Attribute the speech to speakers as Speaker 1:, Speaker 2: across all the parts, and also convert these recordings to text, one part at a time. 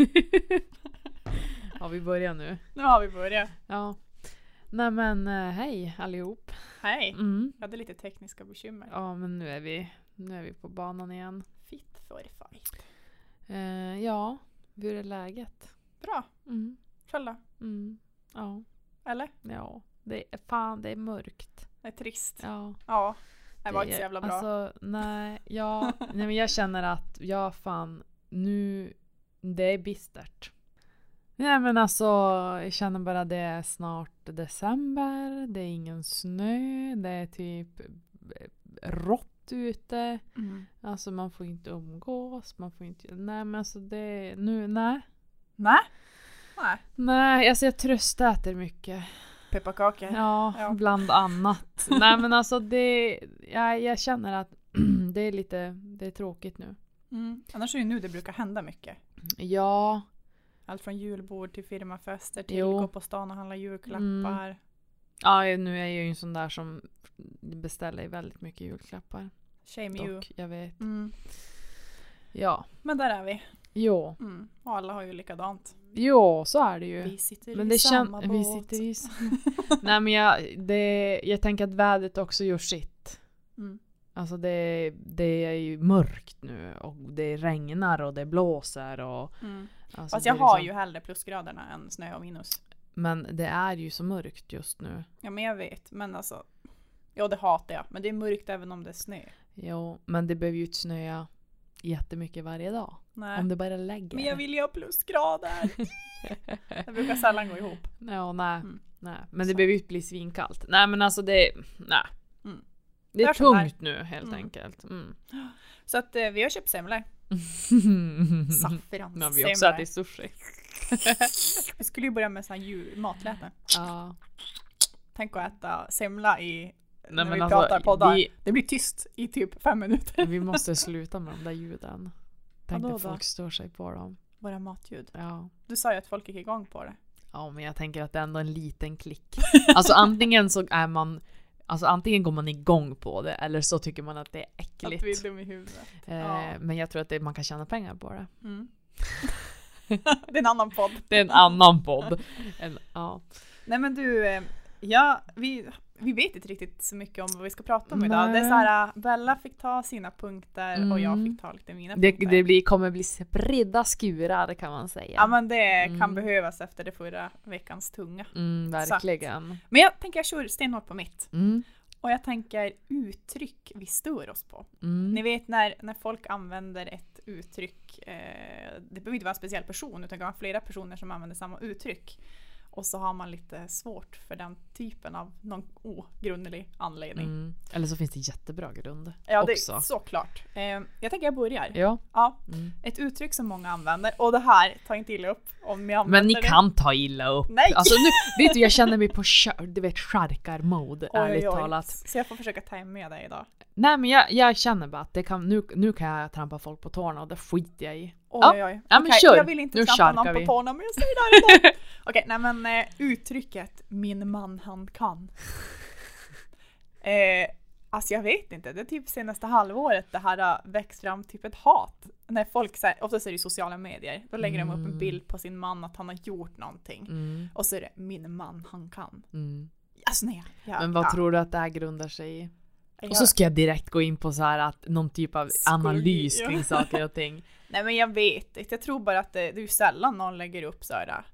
Speaker 1: ja, vi börjar nu.
Speaker 2: Nu har vi börjat.
Speaker 1: Ja. Nej men eh, hej allihop.
Speaker 2: Hej!
Speaker 1: Mm.
Speaker 2: Jag hade lite tekniska bekymmer.
Speaker 1: Ja men nu är vi, nu är vi på banan igen.
Speaker 2: Fitt för fight.
Speaker 1: Eh, ja, hur är läget?
Speaker 2: Bra.
Speaker 1: Mm.
Speaker 2: Själv då?
Speaker 1: Mm. Ja.
Speaker 2: Eller?
Speaker 1: ja, det är fan det är mörkt.
Speaker 2: Det är trist.
Speaker 1: Ja.
Speaker 2: Ja. Det var
Speaker 1: Det-
Speaker 2: inte så jävla bra.
Speaker 1: Alltså, nej, ja, nej, men jag känner att jag fan nu, det är bistert. Nej men alltså, jag känner bara det är snart december, det är ingen snö, det är typ rått ute.
Speaker 2: Mm.
Speaker 1: Alltså man får inte umgås, man får inte, nej men alltså det, nu, nej.
Speaker 2: Nej. Nej.
Speaker 1: Nej, alltså jag tröstäter mycket.
Speaker 2: Pepparkakor.
Speaker 1: Ja,
Speaker 2: Ja.
Speaker 1: bland annat. Nej men alltså det, jag, jag känner att det är lite, det är tråkigt nu.
Speaker 2: Mm. Annars är det ju nu det brukar hända mycket.
Speaker 1: Ja,
Speaker 2: Allt från julbord till firmafester till
Speaker 1: Jo. Mm.
Speaker 2: gå på stan och handla julklappar.
Speaker 1: ja nu är jag ju en sån där som beställer väldigt mycket julklappar.
Speaker 2: Shame you.
Speaker 1: Dock, jag vet.
Speaker 2: Mm.
Speaker 1: Ja.
Speaker 2: Men där är vi.
Speaker 1: Jo.
Speaker 2: Mm. Och alla har ju likadant.
Speaker 1: Jo, så är det ju.
Speaker 2: Vi sitter
Speaker 1: Men
Speaker 2: i
Speaker 1: det
Speaker 2: samma
Speaker 1: känns...
Speaker 2: båt.
Speaker 1: Vi sitter i samma... Nej men jag, det, jag tänker att vädret också gör sitt.
Speaker 2: Mm.
Speaker 1: Alltså det, det är ju mörkt nu och det regnar och det blåser och...
Speaker 2: Mm.
Speaker 1: Alltså
Speaker 2: Fast
Speaker 1: det
Speaker 2: jag
Speaker 1: är
Speaker 2: har
Speaker 1: liksom-
Speaker 2: ju hellre plusgraderna än snö och minus.
Speaker 1: Men det är ju så mörkt just nu.
Speaker 2: Ja men jag vet, men alltså. Ja det hatar jag, men det är mörkt även om det är snö.
Speaker 1: Jo, men det behöver ju inte snöa jättemycket varje dag.
Speaker 2: Nej.
Speaker 1: Om det bara lägger.
Speaker 2: Men jag vill ju ha plusgrader! det brukar sällan gå ihop.
Speaker 1: Ja, nej.
Speaker 2: Mm.
Speaker 1: nej. Men det
Speaker 2: Sant.
Speaker 1: behöver ju inte bli svinkallt. Nej men alltså det, nej.
Speaker 2: Mm.
Speaker 1: Det är
Speaker 2: Där som där.
Speaker 1: tungt nu helt
Speaker 2: Mm.
Speaker 1: enkelt. Mm.
Speaker 2: Så att eh, vi har köpt semlor. Saffranssemlor.
Speaker 1: Men vi har också ätit sushi.
Speaker 2: Vi skulle ju börja med sån här jul- matläte.
Speaker 1: Ja.
Speaker 2: Tänk att äta semla i... när
Speaker 1: men
Speaker 2: vi
Speaker 1: alltså,
Speaker 2: pratar poddar.
Speaker 1: vi-
Speaker 2: Det blir tyst i typ fem minuter.
Speaker 1: Vi måste sluta med de där ljuden. Tänk
Speaker 2: Vadå
Speaker 1: att
Speaker 2: då?
Speaker 1: folk stör sig på dem.
Speaker 2: Våra matljud.
Speaker 1: Ja.
Speaker 2: Du sa ju att folk gick igång på det.
Speaker 1: ja, men jag tänker att det är ändå en liten klick. Alltså antingen så är man Alltså antingen går man igång på det eller så tycker man att det är
Speaker 2: Att vi är
Speaker 1: äckligt.
Speaker 2: dum i huvudet.
Speaker 1: Eh,
Speaker 2: ja.
Speaker 1: Men jag tror att det, man kan tjäna pengar på det.
Speaker 2: Mm. det är en annan podd.
Speaker 1: Det är en annan podd. En, ja.
Speaker 2: Nej men du, eh, ja, vi, vi vet inte riktigt så mycket om vad vi ska prata om idag.
Speaker 1: Nej.
Speaker 2: Det är så här, eh, Bella fick ta sina punkter och jag
Speaker 1: Mm.
Speaker 2: fick ta lite mina
Speaker 1: Det,
Speaker 2: punkter.
Speaker 1: det blir, kommer bli spridda skurar kan man säga.
Speaker 2: Ja men det kan
Speaker 1: Mm.
Speaker 2: behövas efter det förra veckans tunga.
Speaker 1: mm, verkligen.
Speaker 2: Men jag tänker jag kör stenhårt på mitt.
Speaker 1: Mm,
Speaker 2: Och jag tänker uttryck vi stör oss på.
Speaker 1: mm,
Speaker 2: Ni vet när, när folk använder ett uttryck, eh, det behöver inte vara en speciell person utan det kan vara flera personer som använder samma uttryck. Och så har man lite svårt för den typen av någon ogrundlig anledning.
Speaker 1: mm. Eller så finns det jättebra grund
Speaker 2: Ja, det
Speaker 1: också.
Speaker 2: är såklart. Eh, jag tänker jag börjar.
Speaker 1: Ja.
Speaker 2: Ja,
Speaker 1: Mm.
Speaker 2: ett uttryck som många använder och det här, ta inte illa upp om ni använder
Speaker 1: Men ni
Speaker 2: det.
Speaker 1: kan ta illa upp.
Speaker 2: Nej!
Speaker 1: Alltså nu, vet du jag känner mig på kör- du vet charkarmode
Speaker 2: Oj, oj,
Speaker 1: ärligt
Speaker 2: oj.
Speaker 1: talat.
Speaker 2: Så jag får försöka ta med dig idag.
Speaker 1: Nej men jag, jag känner bara att det kan, nu, nu kan jag trampa folk på tårna och det skiter jag i.
Speaker 2: Oj,
Speaker 1: Ja.
Speaker 2: oj, oj.
Speaker 1: Ja, men
Speaker 2: Okej,
Speaker 1: kör.
Speaker 2: Jag vill inte
Speaker 1: Nu
Speaker 2: trampa någon
Speaker 1: charkar
Speaker 2: på
Speaker 1: vi.
Speaker 2: tårna men jag säger det här idag. Okej, nej men eh, uttrycket min man han kan. Eh, alltså jag vet inte, det är typ senaste halvåret det här har växt fram typ ett hat. När folk, så här, oftast är det i sociala medier, då lägger de upp en
Speaker 1: Mm.
Speaker 2: bild på sin man att han har gjort någonting.
Speaker 1: Mm,
Speaker 2: Och så är det min man han kan.
Speaker 1: mm.
Speaker 2: Alltså nej. Jag,
Speaker 1: Men vad
Speaker 2: ja,
Speaker 1: tror du att det här grundar sig i?
Speaker 2: jag,
Speaker 1: Och så ska jag direkt gå in på så här att någon typ av
Speaker 2: Skoj,
Speaker 1: analys
Speaker 2: ja.
Speaker 1: kring saker och ting.
Speaker 2: Nej men jag vet inte, jag tror bara att det, det är ju sällan någon lägger upp sådär.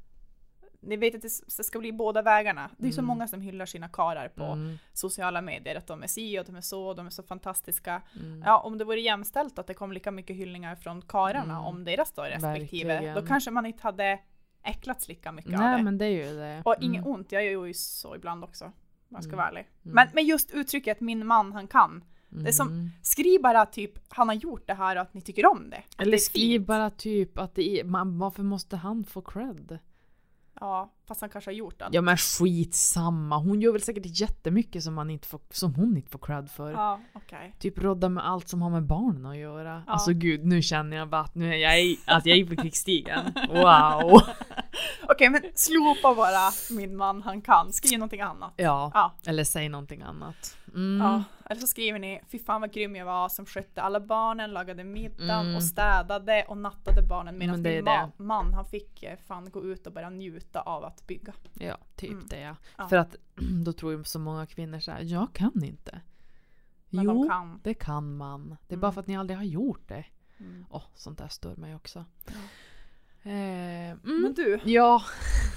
Speaker 2: Ni vet att det s- det ska bli båda vägarna. Det är ju så
Speaker 1: Mm.
Speaker 2: många som hyllar sina karar på
Speaker 1: Mm,
Speaker 2: sociala medier, att de är si och de är så, de är så fantastiska.
Speaker 1: mm.
Speaker 2: Ja, om det vore jämställt att det kom lika mycket hyllningar från kararna
Speaker 1: Mm.
Speaker 2: om deras då respektive,
Speaker 1: Verkligen.
Speaker 2: då kanske man inte hade äcklats lika mycket av
Speaker 1: Nej
Speaker 2: det.
Speaker 1: men det är ju det.
Speaker 2: Och inget
Speaker 1: Mm,
Speaker 2: ont, jag gör ju så ibland också. Om jag ska
Speaker 1: Mm.
Speaker 2: vara ärlig.
Speaker 1: mm,
Speaker 2: Men, men just uttrycket min man han kan. det är som-
Speaker 1: mm.
Speaker 2: Skriv bara typ han har gjort det här och att ni tycker om det. Att det
Speaker 1: Eller
Speaker 2: är
Speaker 1: skriv
Speaker 2: fint.
Speaker 1: bara typ att det är, man, varför måste han få cred?
Speaker 2: Ja, fast han kanske har gjort det.
Speaker 1: Ja men skitsamma, hon gör väl säkert jättemycket som, man inte får, som hon inte får cred för.
Speaker 2: Ja, okej.
Speaker 1: Typ rodda med allt som har med barnen att göra.
Speaker 2: Ja.
Speaker 1: Alltså gud, nu känner jag bara att, nu är jag, i- att jag är på krigsstigen. Wow!
Speaker 2: Okej, men slopa bara min man han kan. Skriv någonting annat.
Speaker 1: Ja,
Speaker 2: Ja.
Speaker 1: eller säg någonting annat. Mm.
Speaker 2: Ja, eller så skriver ni “Fy fan vad grym jag var som skötte alla barnen, lagade middag
Speaker 1: Mm.
Speaker 2: och städade och nattade barnen medan
Speaker 1: Men det
Speaker 2: min
Speaker 1: är
Speaker 2: ma- man han fick eh, fan gå ut och börja njuta av att bygga”.
Speaker 1: Ja, typ
Speaker 2: Mm.
Speaker 1: det ja.
Speaker 2: Ja.
Speaker 1: För att då tror ju så många kvinnor så här, jag kan inte.
Speaker 2: Men
Speaker 1: jo,
Speaker 2: de kan.
Speaker 1: det kan man. Det är bara
Speaker 2: Mm.
Speaker 1: för att ni aldrig har gjort det.
Speaker 2: Mm.
Speaker 1: Åh, sånt där stör mig också.
Speaker 2: Ja.
Speaker 1: Eh, mm.
Speaker 2: Men du,
Speaker 1: Ja,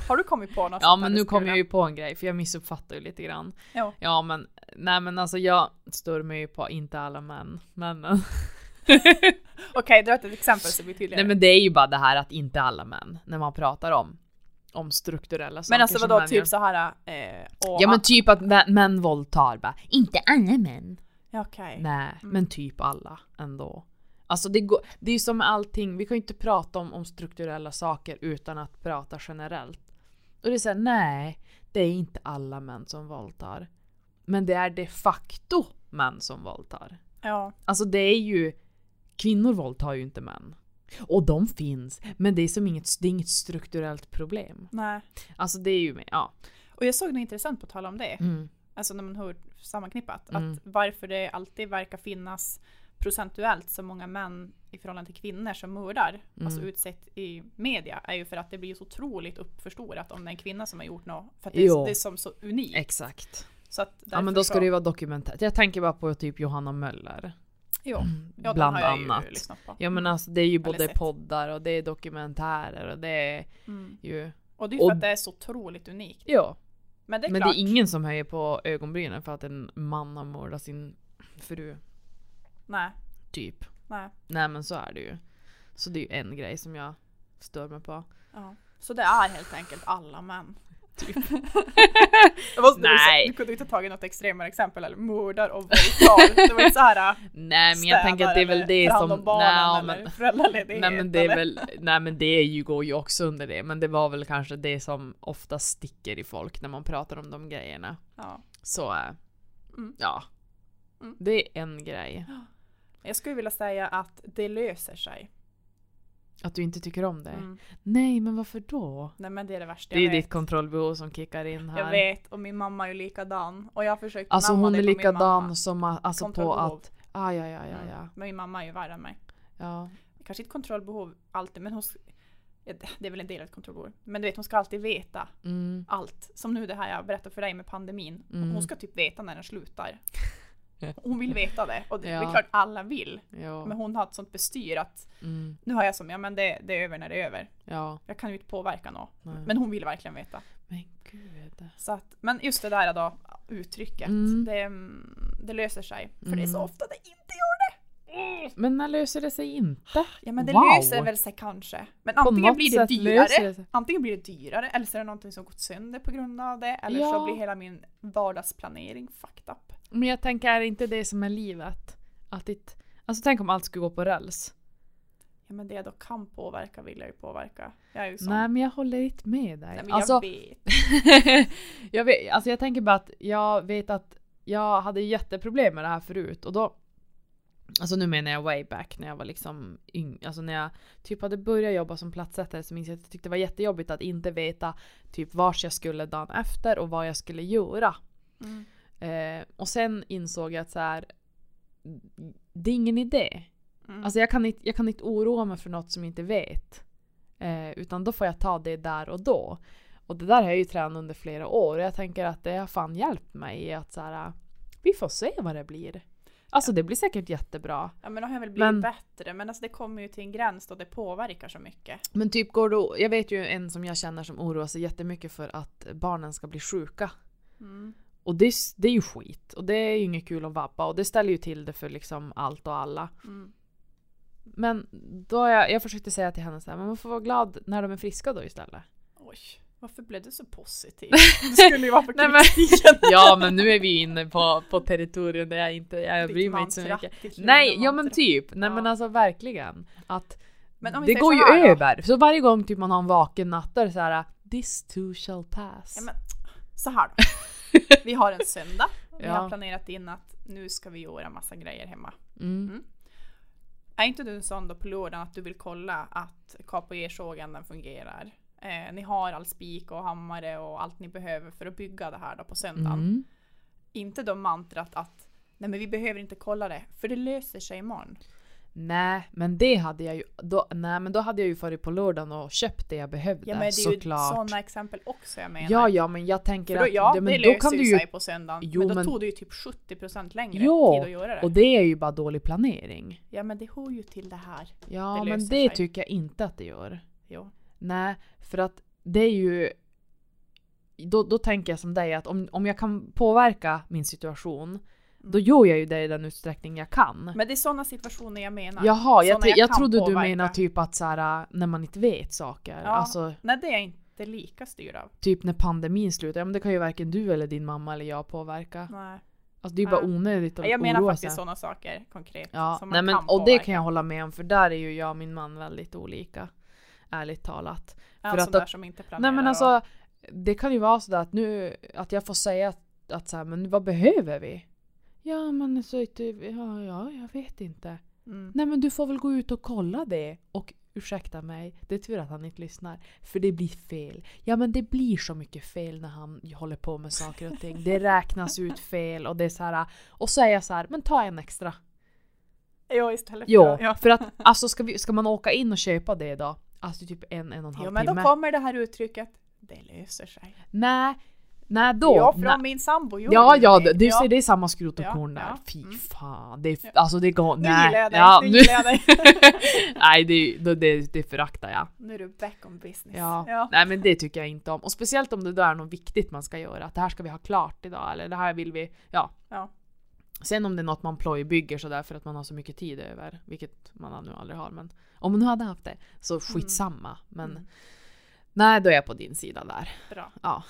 Speaker 2: har du kommit på något
Speaker 1: ja
Speaker 2: sånt
Speaker 1: men
Speaker 2: där
Speaker 1: nu
Speaker 2: du
Speaker 1: kom
Speaker 2: skulle-
Speaker 1: jag ju på en grej för jag missuppfattar ju lite grann.
Speaker 2: Ja.
Speaker 1: Ja men, nej men alltså jag stör mig ju på inte alla män. Men,
Speaker 2: Okej, dra ett exempel så det blir tydligare.
Speaker 1: nej men det är ju bara det här att inte alla män, när man pratar om, om strukturella saker
Speaker 2: Men alltså
Speaker 1: som
Speaker 2: vadå,
Speaker 1: män gör.
Speaker 2: typ så här. Eh, och,
Speaker 1: Ja men typ att mä- män våldtar bara. Inte alla män.
Speaker 2: Ja, Okej.
Speaker 1: Nej,
Speaker 2: Mm.
Speaker 1: men typ alla ändå. Alltså det, går, det är ju som med allting, vi kan ju inte prata om, om strukturella saker utan att prata generellt. Och det är såhär, nej, det är inte alla män som våldtar. Men det är de facto män som våldtar.
Speaker 2: Ja.
Speaker 1: Alltså det är ju, kvinnor våldtar ju inte män. Och de finns, men det är som inget, det är inget strukturellt problem.
Speaker 2: Nej.
Speaker 1: Alltså det är ju, ja.
Speaker 2: Och jag såg något intressant på tal om det.
Speaker 1: Mm.
Speaker 2: Alltså när man hör sammanknippat.
Speaker 1: Mm.
Speaker 2: Att varför det alltid verkar finnas procentuellt så många män i förhållande till kvinnor som mördar. Alltså
Speaker 1: Mm.
Speaker 2: utsett i media. Är ju för att det blir så otroligt uppförstorat om det är en kvinna som har gjort något. För att det,
Speaker 1: Jo.
Speaker 2: är, det är som så unikt.
Speaker 1: Exakt.
Speaker 2: Så att
Speaker 1: Ja men
Speaker 2: därför
Speaker 1: då ska
Speaker 2: så-
Speaker 1: det ju vara dokumentärt. Jag tänker bara på typ Johanna Möller.
Speaker 2: Jo. Ja,
Speaker 1: Mm, bland
Speaker 2: bland har jag annat.
Speaker 1: annat.
Speaker 2: Ju lyssnat på.
Speaker 1: Ja men alltså det är ju
Speaker 2: Eller
Speaker 1: både
Speaker 2: sett.
Speaker 1: poddar och det är dokumentärer och det är
Speaker 2: Mm.
Speaker 1: ju...
Speaker 2: Och det är ju för
Speaker 1: Och-
Speaker 2: att det är så otroligt unikt.
Speaker 1: Ja.
Speaker 2: Men det är
Speaker 1: men
Speaker 2: klart.
Speaker 1: det är ingen som höjer på ögonbrynen för att en man har mördat sin fru.
Speaker 2: Nej.
Speaker 1: Typ.
Speaker 2: Nej.
Speaker 1: Nej men så är det ju. Så det är ju en grej som jag stör mig på.
Speaker 2: Ja. Så det är helt enkelt alla män. Det var,
Speaker 1: Nej.
Speaker 2: Du, du kunde inte ha tagit något extremare exempel, eller mördar och våldtar. Det var inte såhär
Speaker 1: Nej men jag tänker att det är väl det som...
Speaker 2: om barnen
Speaker 1: Nej
Speaker 2: eller
Speaker 1: men,
Speaker 2: föräldraledighet.
Speaker 1: nej, men det är
Speaker 2: eller-
Speaker 1: väl... Nej men det är ju, går ju också under det. Men det var väl kanske det som ofta sticker i folk när man pratar om de grejerna.
Speaker 2: Ja.
Speaker 1: Så... eh,
Speaker 2: Mm.
Speaker 1: Ja.
Speaker 2: Mm.
Speaker 1: Det är en grej.
Speaker 2: Jag skulle vilja säga att det löser sig.
Speaker 1: Att du inte tycker om det.
Speaker 2: Mm.
Speaker 1: Nej, men varför då?
Speaker 2: Nej men det är det värsta
Speaker 1: Det är ju
Speaker 2: jag vet.
Speaker 1: ditt kontrollbehov som kickar in här.
Speaker 2: Jag vet, och min mamma är ju likadan. Och jag har försökt
Speaker 1: Alltså
Speaker 2: namna
Speaker 1: hon
Speaker 2: det
Speaker 1: är
Speaker 2: på min mamma.
Speaker 1: likadan som a- alltså på
Speaker 2: Kontrollbehov.
Speaker 1: att... Ah, ja, ja, ja,
Speaker 2: Mm.
Speaker 1: ja.
Speaker 2: Men min mamma är ju värre än mig.
Speaker 1: ja.
Speaker 2: Kanske inte kontrollbehov alltid, men hon... sk- Ja, det- Det är väl en del av ett kontrollbehov. Men du vet, hon ska alltid veta
Speaker 1: Mm.
Speaker 2: allt. Som nu det här jag berättade för dig med pandemin.
Speaker 1: Mm.
Speaker 2: Hon ska typ veta när den slutar. Hon vill veta det. Och det, det
Speaker 1: Ja.
Speaker 2: är klart alla vill.
Speaker 1: Ja.
Speaker 2: Men hon har ett sånt bestyr att
Speaker 1: Mm.
Speaker 2: nu har jag som, ja men det, det är över när det är över.
Speaker 1: ja.
Speaker 2: Jag kan ju inte påverka något.
Speaker 1: Nej.
Speaker 2: Men hon vill verkligen veta.
Speaker 1: Men gud.
Speaker 2: Så att, men just det där då, uttrycket.
Speaker 1: Mm.
Speaker 2: Det, mm, det löser sig. För det är så
Speaker 1: Mm.
Speaker 2: ofta det inte gör det.
Speaker 1: Men när löser det sig inte?
Speaker 2: Ja men det
Speaker 1: Wow.
Speaker 2: löser väl sig kanske. Men antingen
Speaker 1: något
Speaker 2: blir det
Speaker 1: sätt löser det
Speaker 2: dyrare.
Speaker 1: sig.
Speaker 2: antingen blir det dyrare eller så är det någonting som gått sönder på grund av det. Eller
Speaker 1: Ja.
Speaker 2: så blir hela min vardagsplanering fucked up.
Speaker 1: Men jag tänker, är det inte det som är livet? Att ditt... Alltså tänk om allt skulle gå på räls.
Speaker 2: Ja men det jag då kan påverka vill jag ju påverka. Jag är ju sån.
Speaker 1: Nej, men jag håller inte med dig.
Speaker 2: Nej, men
Speaker 1: alltså,
Speaker 2: jag vet.
Speaker 1: jag, vet, alltså jag tänker bara att jag vet att jag hade jätteproblem med det här förut och då Alltså nu menar jag way back när jag var liksom yng, alltså när jag typ hade börjat jobba som platsättare så minns jag att jag tyckte det var jättejobbigt att inte veta typ vart jag skulle dagen efter och vad jag skulle göra.
Speaker 2: Mm.
Speaker 1: Eh, och sen insåg jag att så här, det är ingen idé.
Speaker 2: Mm.
Speaker 1: Alltså jag kan inte, jag kan inte oroa mig för något som jag inte vet. Eh, utan då får jag ta det där och då. Och det där har jag ju tränat under flera år och jag tänker att det har fan hjälpt mig i att så här, äh, vi får se vad det blir. Alltså det blir säkert jättebra.
Speaker 2: Ja men de har väl blivit
Speaker 1: Men-
Speaker 2: bättre men alltså det kommer ju till en gräns då det påverkar så mycket.
Speaker 1: Men typ går då, jag vet ju en som jag känner som oroar sig jättemycket för att barnen ska bli sjuka.
Speaker 2: Mm.
Speaker 1: Och det, s- det är ju skit och det är ju inget kul att vabba och det ställer ju till det för liksom allt och alla.
Speaker 2: Mm.
Speaker 1: Men då har jag, jag försökte säga till henne så här, men man får vara glad när de är friska då istället.
Speaker 2: Oj, varför blev du så positiv? Du skulle ju vara på
Speaker 1: Nej, men-
Speaker 2: kritiken.
Speaker 1: Ja men nu är vi inne på, på territorium där jag inte jag
Speaker 2: Ditt
Speaker 1: bryr mig inte så
Speaker 2: mantra,
Speaker 1: mycket.
Speaker 2: ditt lugna
Speaker 1: Nej, ja men
Speaker 2: mantra.
Speaker 1: typ. Nej
Speaker 2: Ja.
Speaker 1: men alltså verkligen. Att
Speaker 2: Men om vi
Speaker 1: det
Speaker 2: säger
Speaker 1: går
Speaker 2: så
Speaker 1: ju
Speaker 2: här då.
Speaker 1: över. Så varje gång typ man har en vaken natt då är det så här This too shall pass.
Speaker 2: Ja, men, så här då. Vi har en söndag. Vi
Speaker 1: Ja.
Speaker 2: har planerat in att nu ska vi göra massa grejer hemma.
Speaker 1: mm.
Speaker 2: Är inte du en sån då på lördagen att du vill kolla att kap och ersågen den fungerar? Eh, ni har all spik och hammare och allt ni behöver för att bygga det här då på söndagen.
Speaker 1: Mm.
Speaker 2: Inte då mantrat att nej men vi behöver inte kolla det för det löser sig imorgon.
Speaker 1: Nej, men det hade jag ju. Då, nej, men då hade jag ju farit på lördagen och köpt det jag behövde
Speaker 2: Ja men det är ju
Speaker 1: såklart.
Speaker 2: sådana exempel också jag menar.
Speaker 1: ja, ja, men jag tänker
Speaker 2: för då,
Speaker 1: att
Speaker 2: ja,
Speaker 1: det, men
Speaker 2: det
Speaker 1: då
Speaker 2: löser
Speaker 1: kan
Speaker 2: ju
Speaker 1: du ju.
Speaker 2: sig på söndagen.
Speaker 1: Jo,
Speaker 2: men då
Speaker 1: men-
Speaker 2: tog det ju typ 70% längre
Speaker 1: Ja,
Speaker 2: tid att göra det.
Speaker 1: Och det är ju bara dålig planering.
Speaker 2: Ja men det hör ju till det här.
Speaker 1: Ja,
Speaker 2: Det
Speaker 1: men
Speaker 2: löser
Speaker 1: det
Speaker 2: sig.
Speaker 1: tycker jag inte att det gör.
Speaker 2: Jo.
Speaker 1: Nej, för att det är ju... Då, då tänker jag som dig att om, om jag kan påverka min situation,
Speaker 2: Mm.
Speaker 1: då gör jag ju det i den utsträckning jag kan.
Speaker 2: Men det är sådana situationer jag menar.
Speaker 1: Jaha, jag,
Speaker 2: Mm. Såna
Speaker 1: jag,
Speaker 2: jag
Speaker 1: jag
Speaker 2: kan
Speaker 1: trodde du
Speaker 2: påverka.
Speaker 1: menade typ att så här, när man inte vet saker.
Speaker 2: Ja.
Speaker 1: Alltså
Speaker 2: Nej det är jag inte lika styrd av.
Speaker 1: typ när pandemin slutar. Ja, men det kan ju varken du eller din mamma eller jag påverka.
Speaker 2: Nej.
Speaker 1: Alltså det är ju bara
Speaker 2: Mm. Ja.
Speaker 1: onödigt att
Speaker 2: Jag menar
Speaker 1: oroa
Speaker 2: faktiskt
Speaker 1: sig.
Speaker 2: sådana saker konkret.
Speaker 1: Ja,
Speaker 2: som man
Speaker 1: nej, men,
Speaker 2: kan
Speaker 1: och det
Speaker 2: påverka.
Speaker 1: kan jag hålla med om för där är ju jag och min man väldigt olika. Ärligt talat.
Speaker 2: Ja,
Speaker 1: för
Speaker 2: sån
Speaker 1: att-
Speaker 2: där som inte planerar.
Speaker 1: Nej men
Speaker 2: och-
Speaker 1: alltså, det kan ju vara sådär att nu, att jag får säga att, att så här, men vad behöver vi? Ja men så inte, ja, ja jag vet inte.
Speaker 2: Mm.
Speaker 1: Nej men du får väl gå ut och kolla det. Och ursäkta mig, det är tur att han inte lyssnar. För det blir fel. Ja men det blir så mycket fel när han håller på med saker och ting. Det räknas ut fel och det är så här. Och så är jag så här, men ta en extra.
Speaker 2: Ja istället för...
Speaker 1: Jo,
Speaker 2: ja.
Speaker 1: för att alltså ska, vi, ska man åka in och köpa det då? Alltså typ en, en och en halv
Speaker 2: Jo men då
Speaker 1: timme.
Speaker 2: kommer det här uttrycket. Det löser sig.
Speaker 1: Nej, nej då.
Speaker 2: ja
Speaker 1: nej.
Speaker 2: från min sambo gjorde
Speaker 1: Ja,
Speaker 2: ju
Speaker 1: ja,
Speaker 2: det.
Speaker 1: du
Speaker 2: Ja.
Speaker 1: ser det är samma skrot och
Speaker 2: Ja,
Speaker 1: korn där.
Speaker 2: ja,
Speaker 1: Fy
Speaker 2: mm.
Speaker 1: fan. Det är, f- alltså det går...
Speaker 2: Nu
Speaker 1: nej.
Speaker 2: gillar jag dig.
Speaker 1: Ja,
Speaker 2: nu
Speaker 1: nu,
Speaker 2: gillar jag dig.
Speaker 1: nej, det, det, det, det föraktar jag.
Speaker 2: nu är du back on business.
Speaker 1: Ja. Nej men det tycker jag inte om. Och speciellt om det där är något viktigt man ska göra. Att det här ska vi ha klart idag eller det här vill vi... Ja.
Speaker 2: Ja.
Speaker 1: Sen om det är något man plojbygger sådär för att man har så mycket tid över. Vilket man nu aldrig har men... Om man nu hade haft det så skitsamma. Men
Speaker 2: Mm.
Speaker 1: nej, då är jag på din sida där.
Speaker 2: Bra.
Speaker 1: Ja.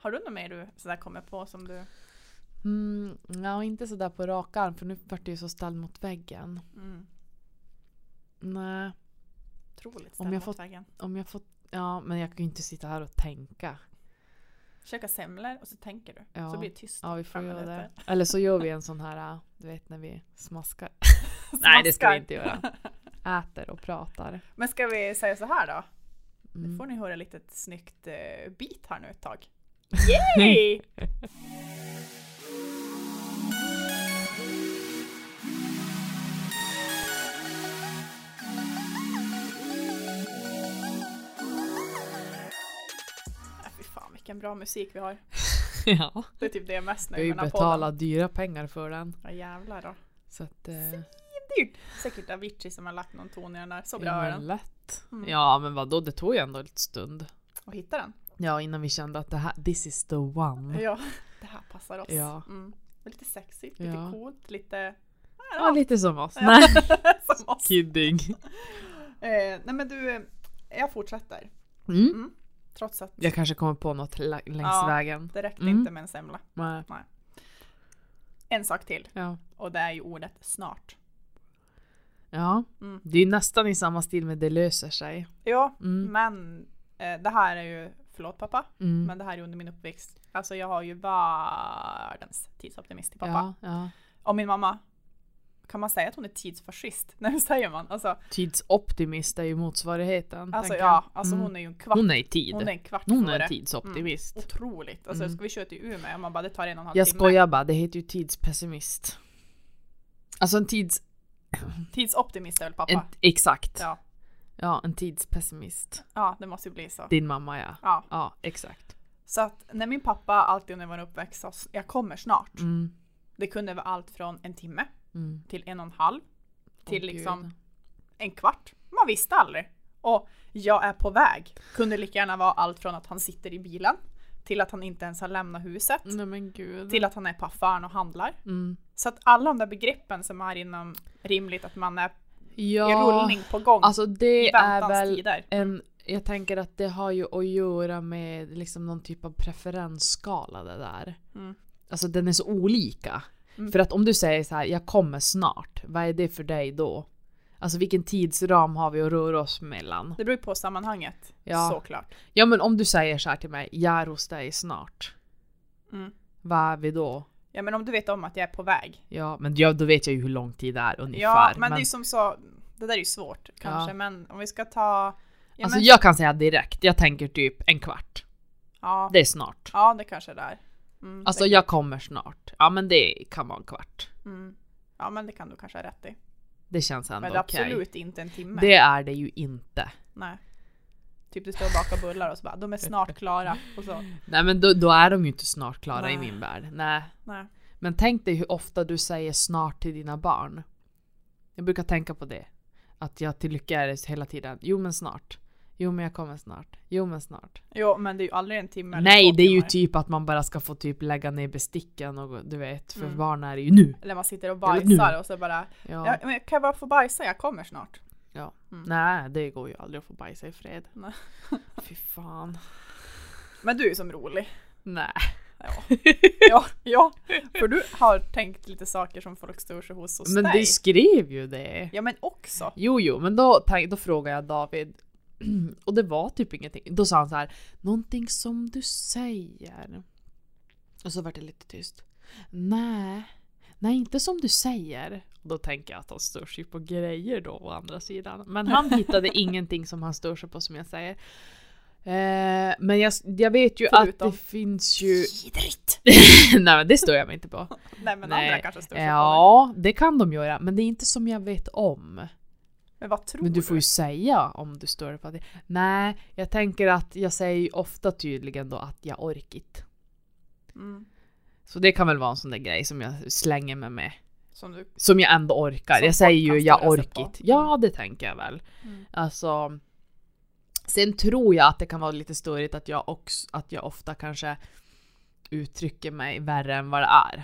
Speaker 2: Har du något mer du sådär kommer på som du...
Speaker 1: Mm, ja, inte sådär på rak arm för nu vart det ju så ställd mot väggen.
Speaker 2: Mm.
Speaker 1: Nej.
Speaker 2: Otroligt
Speaker 1: Om jag
Speaker 2: ställd
Speaker 1: fått-
Speaker 2: mot väggen.
Speaker 1: Om jag fått... Ja, men jag kan ju inte sitta här och tänka.
Speaker 2: Käka semlor och så tänker du.
Speaker 1: Ja.
Speaker 2: Så blir det tyst.
Speaker 1: Ja, vi får
Speaker 2: Fem
Speaker 1: göra det.
Speaker 2: minuter.
Speaker 1: Eller så gör vi en sån här, äh, du vet när vi smaskar. Nej, det ska vi
Speaker 2: Smaskar.
Speaker 1: inte göra. Äter och pratar.
Speaker 2: Men ska vi säga så här då? Nu
Speaker 1: Mm.
Speaker 2: får ni höra lite ett snyggt eh, beat här nu ett tag. Yay! Ja, Äh, fy fan vilken bra musik vi har.
Speaker 1: ja.
Speaker 2: Det är typ det jag mest
Speaker 1: Vi
Speaker 2: nöjd
Speaker 1: har ju
Speaker 2: med den här
Speaker 1: betalat dyra pengar för den.
Speaker 2: podden. Ja jävlar då.
Speaker 1: Så att... Eh,
Speaker 2: Dyrt. Säkert Avicii som har lagt någon ton i den där. Så bra är
Speaker 1: ja,
Speaker 2: den.
Speaker 1: lätt.
Speaker 2: Mm.
Speaker 1: Ja, men vadå, det tog ju ändå en stund.
Speaker 2: Och hitta den.
Speaker 1: Ja, innan vi kände att det här, this is the one.
Speaker 2: Ja, det här passar oss.
Speaker 1: Mm. Ja.
Speaker 2: Mm. Det är Lite sexigt, lite
Speaker 1: Ja.
Speaker 2: coolt, lite
Speaker 1: Ja, lite som oss.
Speaker 2: Ja.
Speaker 1: Nej,
Speaker 2: som oss.
Speaker 1: kidding.
Speaker 2: Eh, nej men du, eh, jag fortsätter.
Speaker 1: Mm.
Speaker 2: Trots att
Speaker 1: Jag kanske kommer på något la- längs
Speaker 2: Ja.
Speaker 1: vägen.
Speaker 2: det räckte
Speaker 1: Mm.
Speaker 2: inte med en semla.
Speaker 1: Nej.
Speaker 2: En sak till
Speaker 1: Ja.
Speaker 2: och det är ju ordet snart.
Speaker 1: ja.
Speaker 2: Mm.
Speaker 1: Det är ju nästan i samma stil med det löser sig.
Speaker 2: Ja,
Speaker 1: Mm.
Speaker 2: men eh, det här är ju, förlåt pappa,
Speaker 1: Mm.
Speaker 2: men det här är ju under min uppväxt. Alltså jag har ju världens tidsoptimist i pappa.
Speaker 1: Ja, ja.
Speaker 2: Och min mamma, kan man säga att hon är tidsfascist? Nej hur säger man? Alltså,
Speaker 1: Tidsoptimist är ju motsvarigheten.
Speaker 2: alltså
Speaker 1: tänker
Speaker 2: ja, alltså
Speaker 1: Mm.
Speaker 2: hon är ju en
Speaker 1: jag.
Speaker 2: kvart,
Speaker 1: Hon är i tid.
Speaker 2: hon är en kvart
Speaker 1: Hon är
Speaker 2: före.
Speaker 1: en tidsoptimist.
Speaker 2: Otroligt. Alltså
Speaker 1: Mm.
Speaker 2: ska vi köra till Umeå? Man bara det tar en och en halv
Speaker 1: Jag
Speaker 2: timme.
Speaker 1: skojar bara, det heter ju tidspessimist. Alltså en tids...
Speaker 2: Tidsoptimist är väl pappa?
Speaker 1: En, exakt. Ja.
Speaker 2: Ja.
Speaker 1: en tidspessimist.
Speaker 2: ja, det måste ju bli så.
Speaker 1: Din mamma ja.
Speaker 2: Ja.
Speaker 1: Ja, exakt.
Speaker 2: Så att när min pappa alltid under vår uppväxt sa jag kommer snart.
Speaker 1: Mm.
Speaker 2: Det kunde vara allt från en timme
Speaker 1: Mm.
Speaker 2: till en och en halv till
Speaker 1: Åh, gud.
Speaker 2: liksom en kvart. Man visste aldrig. Och jag är på väg kunde lika gärna vara allt från att han sitter i bilen till att han inte ens har lämnat huset
Speaker 1: Nej men gud.
Speaker 2: till att han är på affären och handlar.
Speaker 1: Mm.
Speaker 2: Så att alla de där begreppen som är inom rimligt att man är i
Speaker 1: Ja,
Speaker 2: rullning på gång
Speaker 1: alltså
Speaker 2: i
Speaker 1: det är
Speaker 2: väntans
Speaker 1: väl
Speaker 2: tider.
Speaker 1: en... Jag tänker att det har ju att göra med liksom någon typ av preferensskala det där.
Speaker 2: Mm.
Speaker 1: Alltså den är så olika.
Speaker 2: Mm.
Speaker 1: För att om du säger så här, jag kommer snart, vad är det för dig då? Alltså vilken tidsram har vi att röra oss mellan?
Speaker 2: Det beror ju på sammanhanget
Speaker 1: Ja.
Speaker 2: såklart.
Speaker 1: Ja men om du säger så här till mig, jag är hos dig snart.
Speaker 2: Mm.
Speaker 1: Vad är vi då?
Speaker 2: Ja men om du vet om att jag är på väg
Speaker 1: Ja men ja, då vet jag ju hur lång tid det är ungefär.
Speaker 2: Ja, men, det är ju som så, det där är ju svårt kanske,
Speaker 1: Ja.
Speaker 2: men om vi ska ta... Ja,
Speaker 1: alltså
Speaker 2: men,
Speaker 1: jag kan säga direkt, jag tänker typ en kvart.
Speaker 2: ja,
Speaker 1: Det är snart.
Speaker 2: ja, det kanske är där. Mm,
Speaker 1: Alltså
Speaker 2: det-
Speaker 1: jag kommer snart. Ja men det kan vara en kvart.
Speaker 2: mm. Ja men det kan du kanske ha rätt i.
Speaker 1: Det känns
Speaker 2: Men
Speaker 1: ändå
Speaker 2: det är
Speaker 1: okej.
Speaker 2: absolut inte en timme.
Speaker 1: Det är det ju inte.
Speaker 2: Nej. Typ du står och bakar bullar och så bara de är snart klara. Och så.
Speaker 1: Nej men då, då är de ju inte snart klara i
Speaker 2: Nej.
Speaker 1: min värld. Nej.
Speaker 2: Nej.
Speaker 1: Men tänk dig hur ofta du säger snart till dina barn. Jag brukar tänka på det. Att jag till Lycka hela tiden. Jo men snart. Jo men jag kommer snart. Jo men snart.
Speaker 2: Jo men det är ju aldrig en timme. eller
Speaker 1: Nej
Speaker 2: två
Speaker 1: det är ju
Speaker 2: timmar.
Speaker 1: typ att man bara ska få typ lägga ner besticken och du vet. För
Speaker 2: Mm.
Speaker 1: barn är det ju nu.
Speaker 2: Eller man sitter och
Speaker 1: Eller nu.
Speaker 2: bajsar och så bara
Speaker 1: Ja.
Speaker 2: ja. men kan jag bara få bajsa? Jag kommer snart.
Speaker 1: Nej det går ju aldrig att få bajsa i fred.
Speaker 2: Nej.
Speaker 1: Fy fan.
Speaker 2: Men du är ju som rolig.
Speaker 1: Nej.
Speaker 2: Ja. ja, ja, för du har tänkt lite saker som folk stör sig hos hos
Speaker 1: Men
Speaker 2: dig.
Speaker 1: du skrev ju det.
Speaker 2: Ja men också.
Speaker 1: Jo, jo, men då, tänk- då frågade jag David och det var typ ingenting. Då sa han så här, någonting som du säger. Och så var det lite tyst. Nej, nej inte som du säger. Och då tänker jag att han stör sig på grejer då å andra sidan. Men han hittade ingenting som han stör sig på som jag säger. Eh, men jag, jag vet ju
Speaker 2: Förutom-
Speaker 1: att det finns ju...
Speaker 2: Vidrigt!
Speaker 1: nej men det stör jag mig inte på.
Speaker 2: Nej men
Speaker 1: Nej.
Speaker 2: andra kanske stör sig på
Speaker 1: Ja, det kan de göra. Men det är inte som jag vet om.
Speaker 2: dig. Men vad tror
Speaker 1: Men du får ju säga om du stör dig på det. Nej, jag tänker att jag säger ju ofta tydligen då att jag orkit.
Speaker 2: Mm.
Speaker 1: Så det kan väl vara en sån där grej som jag slänger mig med.
Speaker 2: Som du...
Speaker 1: Som jag ändå orkar.
Speaker 2: Som
Speaker 1: jag säger ju
Speaker 2: folk kan
Speaker 1: jag
Speaker 2: störa sig på.
Speaker 1: orkit. Ja, det tänker jag väl.
Speaker 2: Mm.
Speaker 1: Alltså. Sen tror jag att det kan vara lite störigt att jag, också, att jag ofta kanske uttrycker mig värre än vad det är.